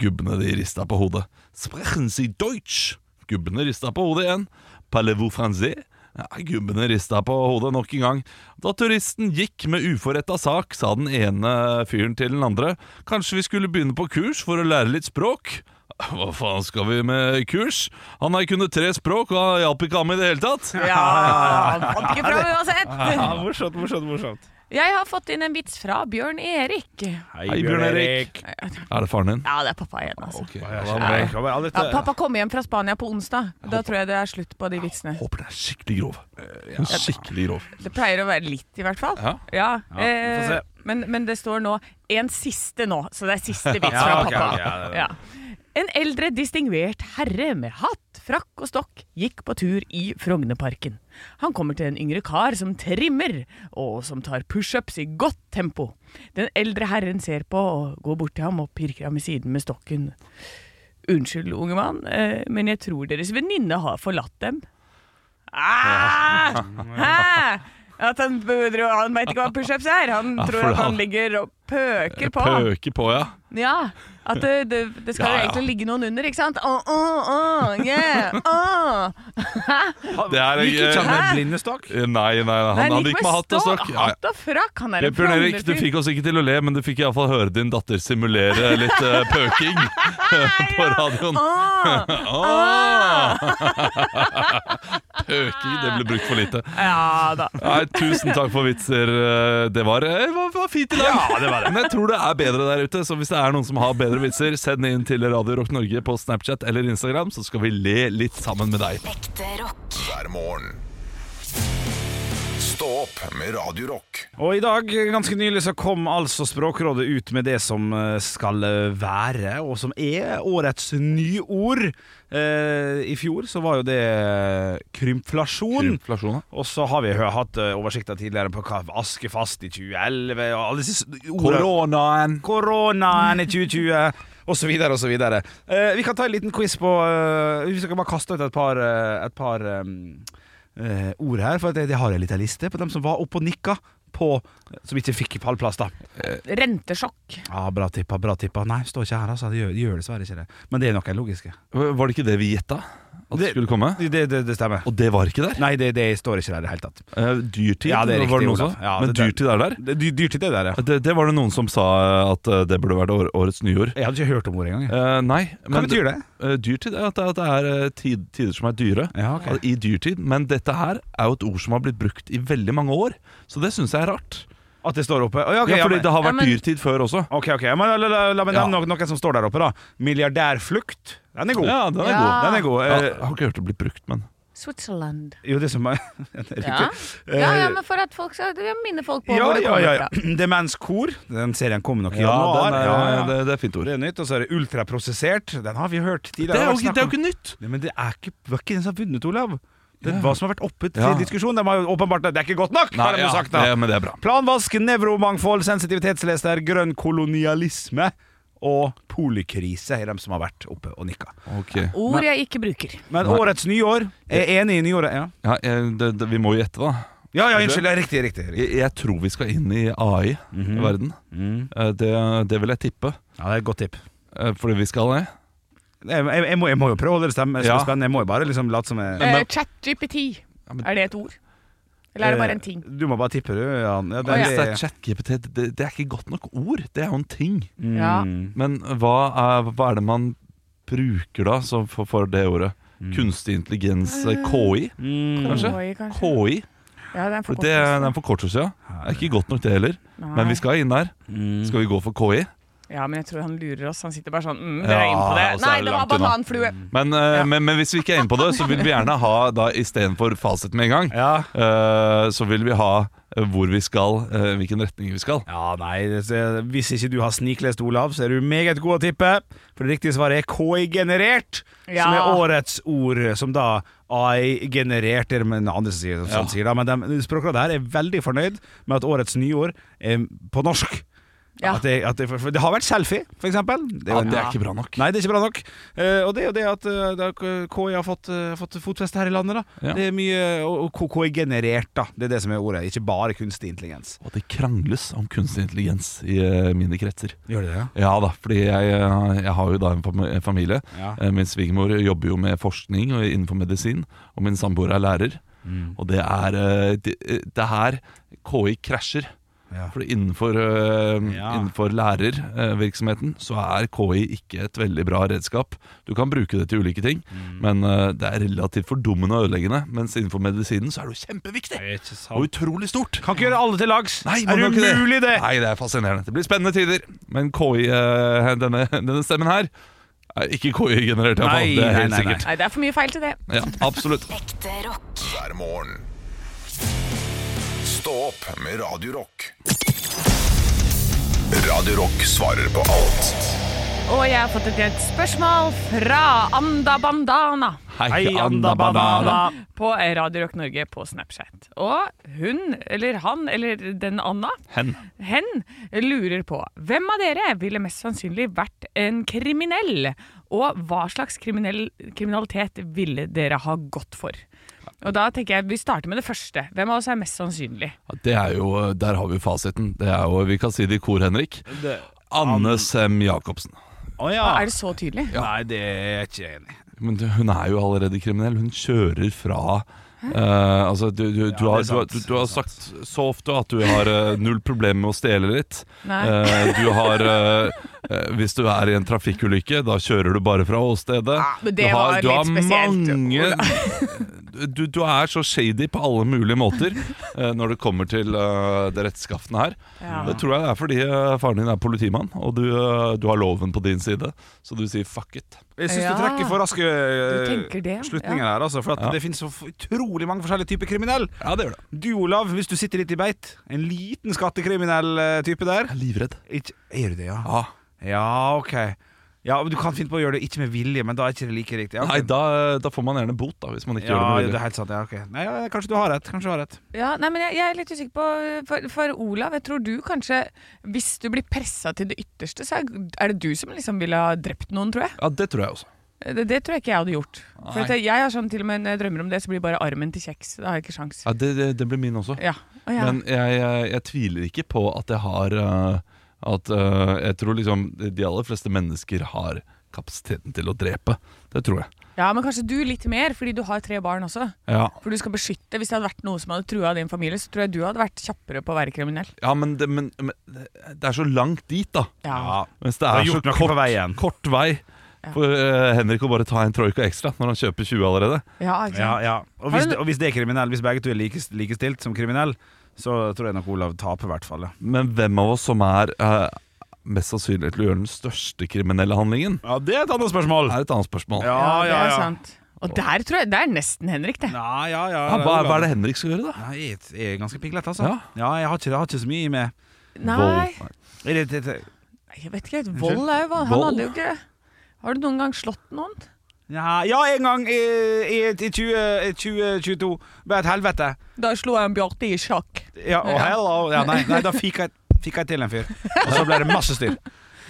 Gubbene de rista på hodet. Sprechen Sie Deutsch! Gubbene rista på hodet igjen. Parlez-vous français? Ja, gubbene rista på hodet nok en gang. Da turisten gikk med uforretta sak, sa den ene fyren til den andre. Kanskje vi skulle begynne på kurs for å lære litt språk? Hva faen skal vi med kurs? Han har kunnet tre språk, og han hjalp ikke ham i det hele tatt.
Ja, han fant ikke [laughs] fram uansett.
Ja, morsomt, morsomt, morsomt.
Jeg har fått inn en vits fra Bjørn Erik.
Hei, Bjørn Erik. Er det faren din?
Ja, det er pappa igjen, altså.
Ok,
Ja,
da må jeg-
jeg kommer aldri
Ja,
til-
pappa kom hjem fra Spania på onsdag. Da tror jeg det er slutt på de vitsene.
Håper den er skikkelig grov.
Eh,
Den er Skikkelig grov.
Det pleier å være litt, i hvert fall.
Ja.
vi får se.
eh, men, men det står nå en siste nå, så det er
[laughs]
siste vits
Ja,
fra
ok,
pappa.
ok, ja, det-
Ja. En eldre, distingvert herre med hatt, frakk og stokk gikk på tur i Frognerparken. Han kommer til en yngre kar som trimmer, og som tar pushups i godt tempo. Den eldre herren ser på og går bort til ham og pirker ham i siden med stokken. Unnskyld, unge mann, eh, men jeg tror deres venninne har forlatt dem.
[laughs]
Ah! Hæ? At han, bedre- han vet ikke hva pushups er. Han
Ja,
tror
Ah, for
at han
han-
ligger og pøker på.
Pøke på, ja.
Ja, at det, det, det skal
Ja, ja.
egentlig ligge noen under, ikke sant? Åh, åh, åh, yeah, åh.
Det er
Gikk ikke han
eh,
med blindestokk?
Nei, nei, han,
Nei,
han gikk med hatt og stokk. Ja, ja.
Hatt og frakk, han er en
Bjørn Erik, du
frognerfyr.
fikk oss ikke til å le, men du fikk iallfall høre din datter simulere litt
[laughs]
eh, pøking [laughs] på radioen.
Åh.
Pøking, det ble brukt for lite.
Ja da.
Nei, Tusen takk for vitser. eh, Det var, eh, var, var fint i dag. Men jeg tror det er bedre der ute, så hvis det er noen som har bedre vitser, send inn til Radio Rock Norge på Snapchat eller Instagram, så skal vi le litt sammen med deg.
Ekte rock.
hver morgen. Stå opp med Radio Rock.
Og i dag, ganske nylig, så kom altså Språkrådet ut med det som eh, skal være, og som er årets nyord. Eh, I fjor så var jo det krymflasjon.
Inflasjon,
Og så har vi hø- hatt eh, oversikter tidligere på hva Askefast i 2011 og alle disse ordene.
Koronaen.
Koronaen i 2020 og så videre og så videre. Eh, vi kan ta en liten quiz på eh, Vi skal bare kaste ut et par, eh, et par eh, eh, ord her, for at jeg, jeg har en liten liste på dem som var oppe og nikka. På, som ikke fikk pallplass, da.
Rentesjokk.
Ja, bra tippa, bra tippa. Nei, står ikke her, altså. De gjør, de gjør dessverre ikke det. Men det er noen logiske.
Var det ikke det vi gjetta at det
Det-
skulle komme?
Det, det, det stemmer.
Og det var ikke der?
Nei, det, det står ikke der i det hele tatt.
Eh, Dyrtid,
Ja, det er riktig,
var det noen som
Olav. Ja,
Men
det- det-
dyrtid er der?
Det er dy- dyrt i det der, ja.
Det, det var det noen som sa eh, at eh, det burde vært år- årets nyord.
Jeg hadde ikke hørt om ordet engang. jeg.
Eh, nei.
Hva betyr det?
eh, dyrtid er at det, at det er eh, tid, tider som er dyre.
Ja, ok.
At- I dyrtid. Men dette her er jo et ord som har blitt brukt i veldig mange år, så det syns jeg er rart.
At det står oppe? Å, ja, ok,
ja,
ja,
fordi
men-
det har
Ja,
vært
men-
dyrtid før også.
Ok, ok, men la, la, la, la meg
Ja.
nevne noe, noe som står der oppe da Milliardærflukt Den er god,
Ja, den er
Ja.
god.
den er god
Ja,
Eh,
jeg har ikke hørt det bli brukt, men
Switzerland.
Jo, [laughs] det som er Riktig.
Ja.
Eh,
Ja, ja, men for at folk skal jeg minner folk på
ja,
hvor det
ja,
kommer
ja, ja.
fra.
[clears throat] Demenskor Den serien kom nok i
ja,
januar
den er,
Ja, ja.
Det, det er fint ord.
Det er nytt, og så er det ultraprosessert Den har vi hørt tidligere
Det er jo
vært
ikke-
snakk
det er
om.
jo ikke nytt!
Nei, men det er ikke, var ikke den som har vunnet, Olav Det er hva som har vært oppe til
Ja.
diskusjon De har jo åpenbart, det er ikke godt nok har de jo
ja,
sagt, da.
det, men det er bra.
Planvask, nevromangfold, sensitivitetslester, grønn kolonialisme og polikrise er de som har vært oppe og nikka.
Ok.
Ord jeg ikke bruker.
Men
Nei.
årets nyår Jeg er enig i nyåret. Ja,
Ja, eh, det, det, vi må jo gjette, da.
ja, ja unnskyld. Ja, riktig, riktig. riktig.
Jeg, jeg tror vi skal inn i
Mhm.
AI-verden. Det, det vil jeg tippe.
Ja, det er et godt tipp.
Eh, Fordi vi skal det.
Jeg, jeg, jeg, må, jeg må jo prøve å holde det stemme,
Ja.
spennende. Jeg må jo bare liksom late som jeg
Eh, ChatGPT,
Ja, men- Eh,
er det et ord? Eller er det bare en ting?
Du må bare tippe, du. Jan. Ja, det,
Å, ja.
Hvis det er ChatGPT, det, det er ikke godt nok ord. Det er jo en ting.
Ja.
Men hva er, hva er det man bruker da så for, for det ordet? Kunstig intelligens, eh, KI?
Mm.
Kanskje?
Oi, kanskje.
KI.
Ja, det er en
For det er
forkortelse.
en forkortelse, ja. Det er ikke godt nok, det heller. Men
Nei.
vi skal inn der. Skal vi gå for KI?
Ja, men jeg tror han lurer oss. Han sitter bare sånn mm, dere er inne på det.
Ja, og så er
Nei,
det
det var
langt unna.
bananflue.
Men, eh,
Ja.
men, men hvis vi ikke er inne på det, så vil vi gjerne ha da istedenfor fasit med en gang.
ja.
Eh, så vil vi ha eh, hvor vi skal, eh, hvilken retning vi skal.
ja, nei det- Hvis ikke du har sniklest, Olav, så er du meget god å tippe. For det riktige svaret er KI-generert, som
Ja.
er årets ord. Som da AI-generert, er det med andre som sier, som
Ja.
sier da. Men de- Språkrådet her er veldig fornøyd med at årets nyord er på norsk.
Ja.
At jeg, at jeg, for det har vært selfie, for eksempel. Det
Ja,
jo en-
det er ikke bra nok.
Nei, det er ikke bra nok. Eh, og det er jo det at eh, da K- KI har fått, eh, fått fotfeste her i landet, da.
Ja.
Det er mye og, og KI-generert, da. Det er det som er ordet. Ikke bare kunstig intelligens.
Og det krangles om kunstig intelligens i eh, mine kretser.
Gjør det det?
Ja da, fordi jeg, eh, jeg har jo da en fam- en familie.
Ja.
Eh, Min svigermor jobber jo med forskning og innenfor medisin, og min samboer er lærer.
Mm.
Og det er eh, det, det er her KI krasjer.
Ja.
For innenfor, eh,
Ja.
innenfor lærervirksomheten så er KI ikke et veldig bra redskap. Du kan bruke det til ulike ting,
Mm.
men eh, det er relativt fordummende og ødeleggende. Mens innenfor medisinen så er det jo kjempeviktig
Det er ikke sant.
og utrolig stort.
Kan ikke gjøre alle til lags.
Nei, man
er
kan ikke
det umulig, det?
Nei, det er fascinerende. Det blir spennende tider. Men KI, eh, denne, denne stemmen her, er ikke KI-generert. i hvert fall.
Nei,
Det er
nei,
helt
nei, nei.
sikkert.
Nei, det er for mye feil til det.
Ja, absolutt.
Ekte rock.
hver morgen. Stå opp med Radio Rock. Radio Rock svarer på alt.
Og jeg har fått et, et spørsmål fra Anda Bandana
Hei,
Hei,
Anda Banana.
på Radio Rock Norge på Snapchat. Og hun, eller han, eller den Anna,
Hen.
hen lurer på hvem av dere ville mest sannsynlig vært en kriminell, og hva slags kriminell, kriminalitet ville dere ha gått for? Og da tenker jeg vi starter med det første. Hvem av oss er mest sannsynlig?
Ja, Det er jo, eh, der har vi jo fasiten. Det er jo, vi kan si det i kor, Henrik. Anne Sem Jacobsen.
Å ja.
Ah.
Er det så tydelig?
Nei, det er jeg ikke enig i.
Men du- hun er jo allerede kriminell. Hun kjører fra eh, altså, du, du, du, har,
det
du,
er
har-
sant.
du, du har sagt så ofte at du har eh, null problem med å stjele litt.
Nei.
Eh, du
[laughs]
har eh, eh, Hvis du er i en trafikkulykke, da kjører du bare fra åstedet.
Ah, men
du
det var
har, du
litt
har
spesielt.
mange [laughs] du, du er så shady på alle mulige måter eh, når det kommer til eh, det rettskaffende her.
Ja.
Det tror jeg det er fordi eh, faren din er politimann, og du, eh, du har loven på din side, så du sier fuck it.
Jeg syns
Ja.
du trekker for raske
Du
eh,
tenker det,
slutninger
ja.
her, altså. For at
Ja.
det finnes så f- utrolig mange forskjellige typer kriminell.
Ja, det gjør det.
Du, Olav, hvis du sitter litt i beit, en liten skattekriminell eh, type der
Jeg er livredd.
ikke, Er du det, ja?
Ja.
Ja, ok. Ja, men Du kan finne på å gjøre det ikke med vilje, men da er ikke det like riktig. Ja, ok.
Nei, da, da får man gjerne bot, da, hvis man ikke
ja,
gjør det
det
med
er
vilje.
helt sant. Ja, ok. Nei, ja, kanskje du har rett. Kanskje du har rett.
Ja, nei, men jeg, jeg er litt usikker på For, for Olav, jeg tror du kanskje Hvis du blir pressa til det ytterste, så er, er det du som liksom ville ha drept noen, tror jeg.
Ja, det tror jeg også.
Det, det tror jeg ikke jeg hadde gjort. For
Nei.
at jeg, jeg har sånn til og med når jeg drømmer om det, så blir bare armen til kjeks. Da har jeg ikke sjans.
Ja, det, det, det blir min også.
Ja. Å, ja.
Men jeg, jeg, jeg tviler ikke på at jeg har eh, At eh, jeg tror liksom de aller fleste mennesker har kapasiteten til å drepe. Det tror jeg.
ja, men kanskje du litt mer, fordi du har tre barn også.
Ja,
For du skal beskytte. Hvis det hadde vært noe som hadde trua din familie, så tror jeg du hadde vært kjappere på å være kriminell.
ja men, det, men, men det er så langt dit, da.
Ja.
Mens det
Du har
er så
gjort noe
kort,
på veien.
kort vei. For eh, Henrik må bare ta en troika ekstra når han kjøper 20 allerede.
Ja, ikke
Ja,
sant?
ja. Og, hvis
Har du-
det, og hvis det er kriminell, hvis begge to er like, likestilt som kriminell, så tror jeg nok Olav taper, i hvert fall. Ja.
Men hvem av oss som er eh, mest sannsynlig til å gjøre den største kriminelle handlingen,
ja, det er et annet spørsmål.
er et annet spørsmål.
Ja,
det
ja,
er
ja.
sant. Og der tror jeg Det er nesten Henrik, det.
Ja, ja, ja.
Ja, hva, hva er
Olav.
det Henrik skal gjøre, da?
Nei, jeg er- jeg er ganske pinglete, altså.
Ja.
jeg, har ikke, jeg har ikke så mye i meg.
Nei.
Vold.
Er det- det- det-
Jeg vet ikke helt. Vold er jo van- Han
Vold?
hadde jo ikke Har du noen gang slått noen?
Ja, ja, en gang i, i, i 20 i 2022 ble et helvete.
Da slo jeg en Bjarte i sjakk.
Ja, og hello. Ja, nei, nei, da fikk jeg, fikk jeg til en fyr. Og så ble det masse styr.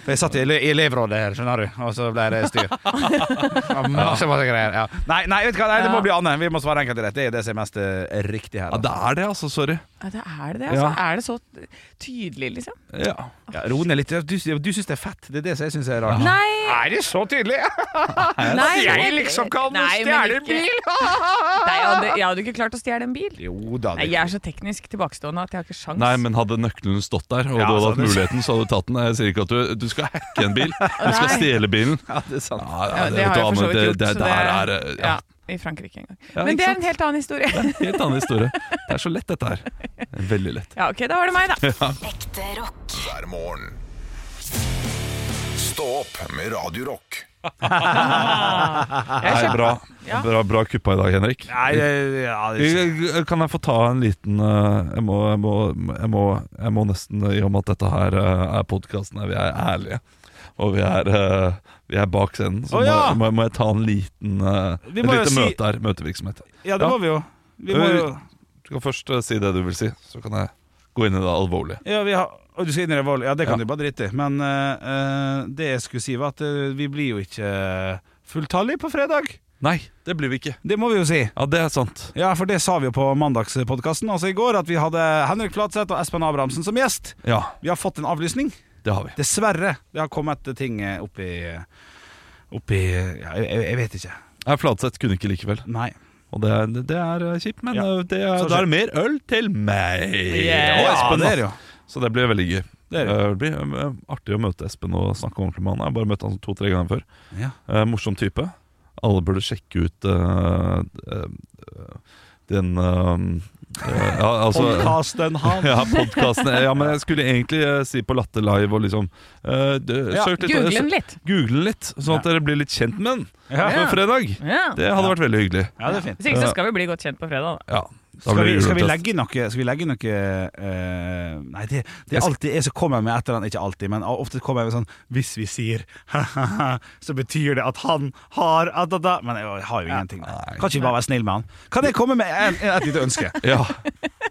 For jeg satt i ele- i elevrådet her, skjønner du, og så ble det styr. Ja, masse, masse greier. Ja. Nei, nei, vet du hva? nei, det må bli Anne. Vi må svare enkelt og rett. Det er det som er mest eh, riktig her.
Ja, det er det, altså. Sorry.
Ja, det er det det. Altså. Er det så tydelig, liksom?
Ja.
Ja, Ro ned litt. Du, du syns det er fett. Det er det som jeg syns er rart.
Nei!
Er det så tydelig?
nei
jeg liksom kan stjele en bil.
nei, jeg hadde, jeg hadde ikke klart å stjele en bil.
Jo da.
Nei, Jeg er så teknisk tilbakestående at jeg har ikke sjans.
Nei, men hadde nøkkelen stått der, og
Ja,
du hadde
så
hatt
hadde du-
muligheten, så hadde du tatt den. Jeg sier ikke at du, du skal hacke en
[laughs]
bil, du skal
Nei.
stjele bilen.
Ja, det er sant.
Ja, ja,
ja, det har jeg
vet du hva,
for så
men
vidt gjort.
Det,
så
det, det her er
det-
ja,
ja, I Frankrike en gang.
Ja,
Men
ikke
det er
sant?
en helt annen
[laughs]
historie.
helt annen historie. Det er så lett, dette her. Veldig lett.
Ja, ok, da var
[laughs]
det meg, da.
Ekte rock.
hver morgen. Stå opp med Radio Rock.
Jeg
Nei,
skjønner.
bra,
Ja.
bra, bra kuppa i dag, Henrik.
Nei, det- ja, det er ikke-
Jeg- Kan jeg få ta en liten eh, Jeg må, jeg må, jeg må, jeg må nesten eh, I og med at dette her eh, er podkasten her, vi er ærlige. Og vi er, eh, vi er bak scenen, så
Å, ja!
må, må, må jeg ta en liten eh,
Vi
et
må jo
lite
si-
møte her. Møtevirksomhet.
ja, det
Ja.
må vi jo. Vi må jo
Du kan først eh, si det du vil si, så kan jeg gå inn i det alvorlige.
ja, vi har, Og du skal inn i revoll, ja det kan du bare drite i. Men eh, eh, det jeg skulle si, var at eh, vi blir jo ikke fulltallige på fredag.
Nei, det blir vi ikke.
Det må vi jo si.
Ja, det er sant.
Ja, for det sa vi jo på mandagspodkasten, altså i går, at vi hadde Henrik Flatseth og Espen Abrahamsen som gjest.
Ja,
Vi har fått en avlysning.
det har vi.
Dessverre. Det har kommet ting eh, opp i Opp i ja, jeg, jeg vet ikke.
Nei, Fladseth kunne ikke likevel.
Nei.
Og det er, det er eh, kjipt, men
Ja.
eh, det er,
Så
da er
skjer-
det mer øl til meg
Yeah.
og Espen.
det
da.
er det jo.
Så det blir veldig gøy.
Det er det.
Eh, det blir eh, artig å møte Espen og snakke ordentlig med han. Jeg har bare møtt han to-tre ganger før.
Ja.
Eh, morsom type. Alle burde sjekke ut eh, eh, den eh, eh, ja, altså,
Podkasten han.
[laughs] ja, podkasten. Ja, men jeg skulle egentlig eh, si på Latter Live og liksom eh, du-
Ja,
søk litt-
Google den litt.
Google den litt, sånn at dere blir litt kjent med den
Ja.
på fredag.
Ja.
Det hadde vært veldig hyggelig.
ja, det er fint.
Hvis ikke så skal vi bli godt kjent på fredag. Da.
Ja, da
Skal
blir
vi,
det
skal vi
juletest.
legge noe, skal vi legge noe eh, Nei, det, det
Jeg
er
skal-
alltid jeg som kommer med et eller annet. Ikke alltid, men ofte kommer jeg med sånn Hvis vi sier [laughs] så betyr det at han har da, da, da. Men jeg har jo ingenting. der. Kan ikke vi bare være snill med han? Kan jeg komme med en, et lite ønske?
[laughs] Ja,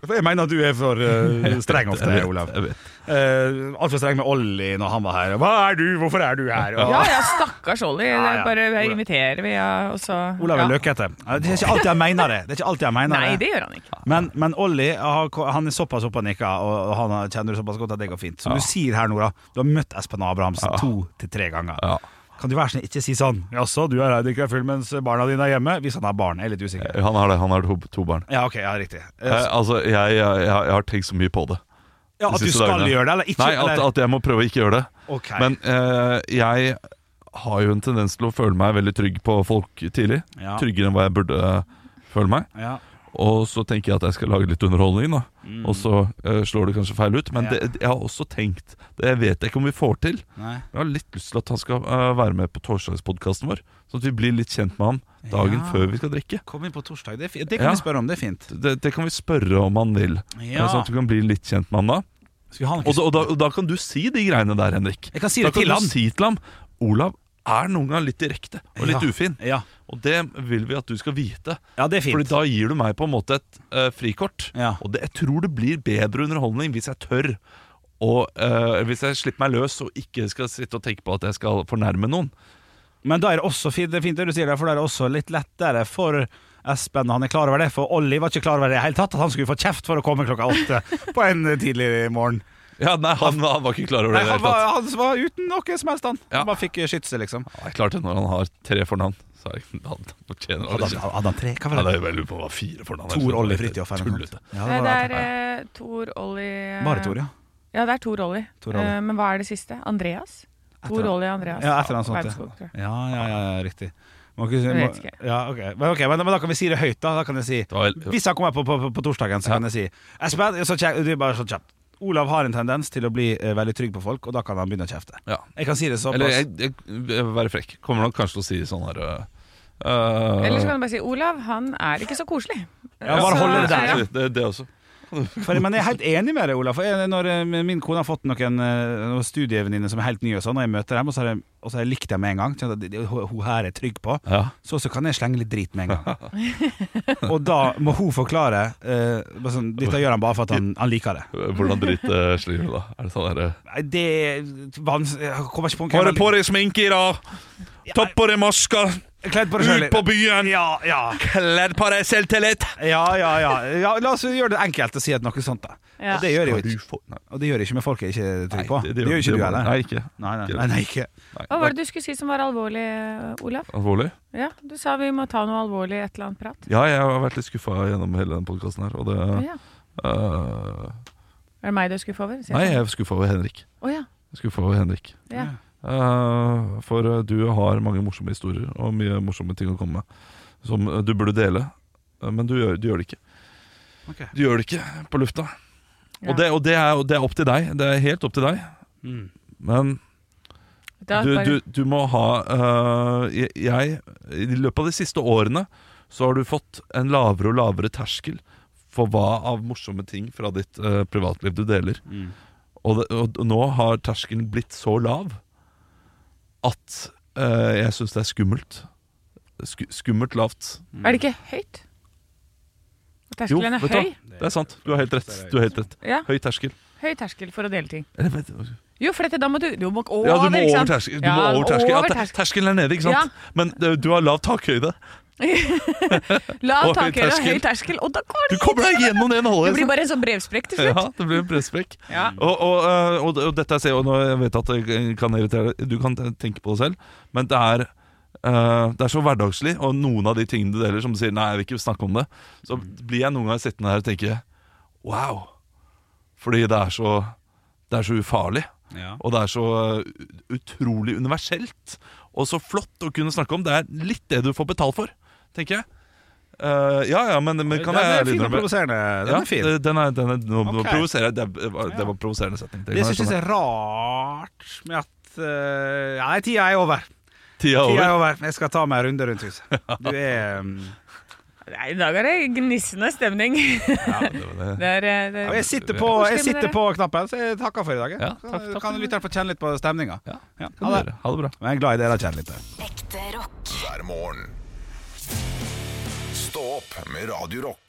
For jeg mener at du er for
[laughs]
eh, streng ofte,
jeg vet,
Olav.
jeg vet.
Uh, Altfor streng med Olli når han var her. Hva er du? Hvorfor er du her? Og,
Ja, ja, stakkars Olli. Det
Ja,
er
ja.
Bare
Olav.
inviterer vi, ja, og så
Olav er
ja.
løkete. Eh, Det er ikke alltid jeg mener det. Det er ikke alltid jeg mener
Nei, det gjør han ikke.
Men, men Olli har- han er såpass oppe og nikker, og han har- kjenner du såpass godt at det går fint. Som du sier her, Nora, du har møtt Espen Abrahamsen to til tre ganger.
Ja.
Kan du være snill ikke si sånn 'Jaså, du er her drikker deg full mens barna dine er hjemme?' Hvis han har barn. Jeg er litt usikker.
Han har det, han har to, to barn.
Ja, ok, ja, riktig.
Jeg,
Eh,
altså, jeg, jeg, jeg, har- jeg har tenkt så mye på det.
Ja, At
de
du
siste
skal
dagene.
gjøre det, eller ikke?
Nei, at,
eller?
at jeg må prøve å ikke gjøre det.
Ok.
Men eh, jeg har jo en tendens til å føle meg veldig trygg på folk tidlig.
Ja.
Tryggere enn hva jeg burde eh, føle meg.
ja.
Og så tenker jeg at jeg skal lage litt underholdning, da. Og så eh, slår det kanskje feil ut. Men
Mm. Ja.
det, jeg har også tenkt Det vet jeg ikke om vi får til.
Nei.
Jeg har litt lyst til at han skal eh, være med på torsdagspodkasten vår. Sånn at vi blir litt kjent med ham dagen
Ja.
før vi skal drikke.
Kom inn på torsdag. Det, er fi- det kan
Ja.
vi spørre om, det er fint.
Det, det kan vi spørre om han vil.
Ja.
Sånn at du kan bli litt kjent med ham da.
Skal vi ha noe
Og da, og, da, og da kan du si de greiene der, Henrik.
Jeg kan si
da
det til
du
ham.
Si til ham. Olav er noen ganger litt direkte og litt
Ja.
ufin.
Ja.
Og det vil vi at du skal vite.
ja, det er fint.
Fordi da gir du meg på en måte et eh, frikort.
Ja.
Og det, jeg tror det blir bedre underholdning hvis jeg tør. Og eh, hvis jeg slipper meg løs og ikke skal sitte og tenke på at jeg skal fornærme noen.
Men da er det også fint, det er fint det du sier der, for da er det også litt lettere for Espen, og han er klar over det, for Olli var ikke klar over det i det hele tatt, at han skulle få kjeft for å komme klokka
[laughs]
åtte på en tidlig morgen.
Ja, nei, han, han var ikke klar over
Nei,
det. i det
han,
hele
var,
tatt.
han var uten noe som helst, han.
Ja.
Han bare fikk skytse, liksom.
Nei, klart det, når han har tre fornavn, så er det, han fortjener han
Hadde
ikke.
han- hadde han tre? Hva
Ja,
var
det
det?
er jo veldig på å være fire fornavn.
Tor, Olli, Fridtjof. sånn. eller noe sånt.
Tullete.
Ja,
Nei,
det
det
var
er
det.
eh, Tor Olli eh,
Bare Tor, ja.
Ja, det er Tor Olli.
Tor Olli.
Eh, men hva er det siste? Andreas? Tor
Etter-
Olli Andreas.
Ja, et eller annet sånt, ja.
Wermskog, tror jeg.
Ja, ja, ja, ja riktig. Må ikke, si-
Jeg vet
må-
ikke.
Ja, ok, men, ok, men, men da kan vi si det høyt, da. da kan jeg si
Det var-
Hvis han kommer på, på, på, på torsdagen, så kan jeg si Espen, så kjekk, du er bare så kjapt. Olav har en tendens til å bli eh, veldig trygg på folk, og da kan han begynne å kjefte.
Ja.
Jeg kan si det såpass.
Eller jeg, jeg, jeg vil være frekk. Kommer nok kanskje til å si sånn her øh,
Eller så kan du bare si Olav, han er ikke så koselig.
Ja, bare
Så-
holde det der,
ja.
Det, det, det også.
For, men jeg er helt enig med deg, Olav. For jeg, når eh, min kone har fått noen, eh, noen studievenninner som er helt nye, og sånn, og jeg møter dem, og så har jeg, og så har jeg likt dem med en gang, kjent at det- det- hun hun her er trygg på,
Ja.
så, så kan jeg slenge litt drit med en gang.
[laughs]
og da må hun forklare eh, bare sånn, Dette gjør han bare for at han, han liker det.
Hvordan dritt eh, slir du da? Er det sånn herre
Nei, Det er vanskelig Jeg kommer ikke på en
Har du på deg sminke i dag? Tatt på deg maska?
Kledd på deg
Ut
selv.
på byen?
Ja, ja.
Kledd på deg selvtillit?
Ja, ja, ja. ja, La oss gjøre det enkelt og si at noe sånt, da.
Ja.
Og det gjør jeg
Har
jo
du
ikke.
fått- Nei,
Og det gjør jeg ikke med folk jeg ikke er trygg på.
Nei,
Det, gjør ikke du
må-
heller.
Nei, ikke.
Nei, nei, nei, nei, ikke.
Hva var det du skulle si som var alvorlig, eh, Olav?
Alvorlig?
Ja, Du sa vi må ta noe alvorlig, et eller annet prat.
Ja, jeg har vært litt skuffa gjennom hele den podkasten her, og det
Ja.
øh,
Er det meg du er skuffa over? Sier
Nei,
jeg.
jeg er skuffa over Henrik.
Å ja.
Jeg er Skuffa over Henrik.
ja.
Eh, for eh, du har mange morsomme historier og mye morsomme ting å komme med som eh, du burde dele, eh, men du gjør, du gjør det ikke.
Ok.
Du gjør det ikke på lufta.
Ja.
Og, det, og det, er, og det er opp til deg. Det er helt opp til deg.
Mm.
Men
Da
du,
bare-
du, du må ha eh, jeg- Jeg I løpet av de siste årene så har du fått en lavere og lavere terskel for hva av morsomme ting fra ditt eh, privatliv du deler. Og, det, og nå har terskelen blitt så lav at eh, jeg syns det er skummelt. Sku, skummelt lavt.
Er det ikke høyt? Terskelen er
vet du hva?
høy?
Det er sant. Du har helt rett. Du har helt rett.
Ja.
Høy terskel.
Høy terskel for å dele ting.
Eller, vet du-
Jo, for dette, da må du Du må over,
Ja, du må
ikke
over
sant?
terskelen.
Ja,
Ja,
over
ter-
terskel.
terskelen er nede, ikke sant? Men eh, du har lav takhøyde.
Lav
Og høy
takhøyde og
terskel.
høy terskel, og da går
Du
det
kommer deg gjennom den
Det blir
halvøyden.
bare en sånn brevsprekk til
Ja,
slutt.
det blir en pressprekk.
Ja.
Og, og, eh, og, og dette ser jeg, og nå jeg vet at det kan irritere deg, du kan tenke på det selv, men det er, eh, det er så hverdagslig, og noen av de tingene du deler som du sier, nei, jeg vil ikke snakke om det, så blir jeg noen ganger sittende her og tenke, wow, fordi det er så, det er så ufarlig,
Ja.
og det er så eh, utrolig universelt, og så flott å kunne snakke om, det er litt det du får betalt for, tenker jeg. Eh, ja, ja, men, men kan
den
jeg
er fin og
innrømme-
provoserende. Den
ja,
er fin.
det- Den er, den er, nå nå
Ok.
provoserer jeg. Det, var- det var provoserende setning.
Det
kan
syns
jeg
jeg
skjønne.
er rart med at eh, Ja, nei, tida er over. Tida
Tida er
er
over.
over. Jeg skal ta meg en runde rundt
[laughs]
huset. Du er um,
Nei, I dag er det gnissende stemning. [laughs] Det er, eh, det
ja,
er
Jeg sitter på, jeg sitter på knappen, så jeg takker for i dag. jeg.
Ja, takk, takk.
Kan lytteren få kjenne litt på stemninga?
Ja,
Ja, ha
Kan du
det.
gjøre. Ha det bra.
Men jeg er glad i dere kjærligheter.
Ekte rock.
hver morgen. Stå opp med Radio Rock.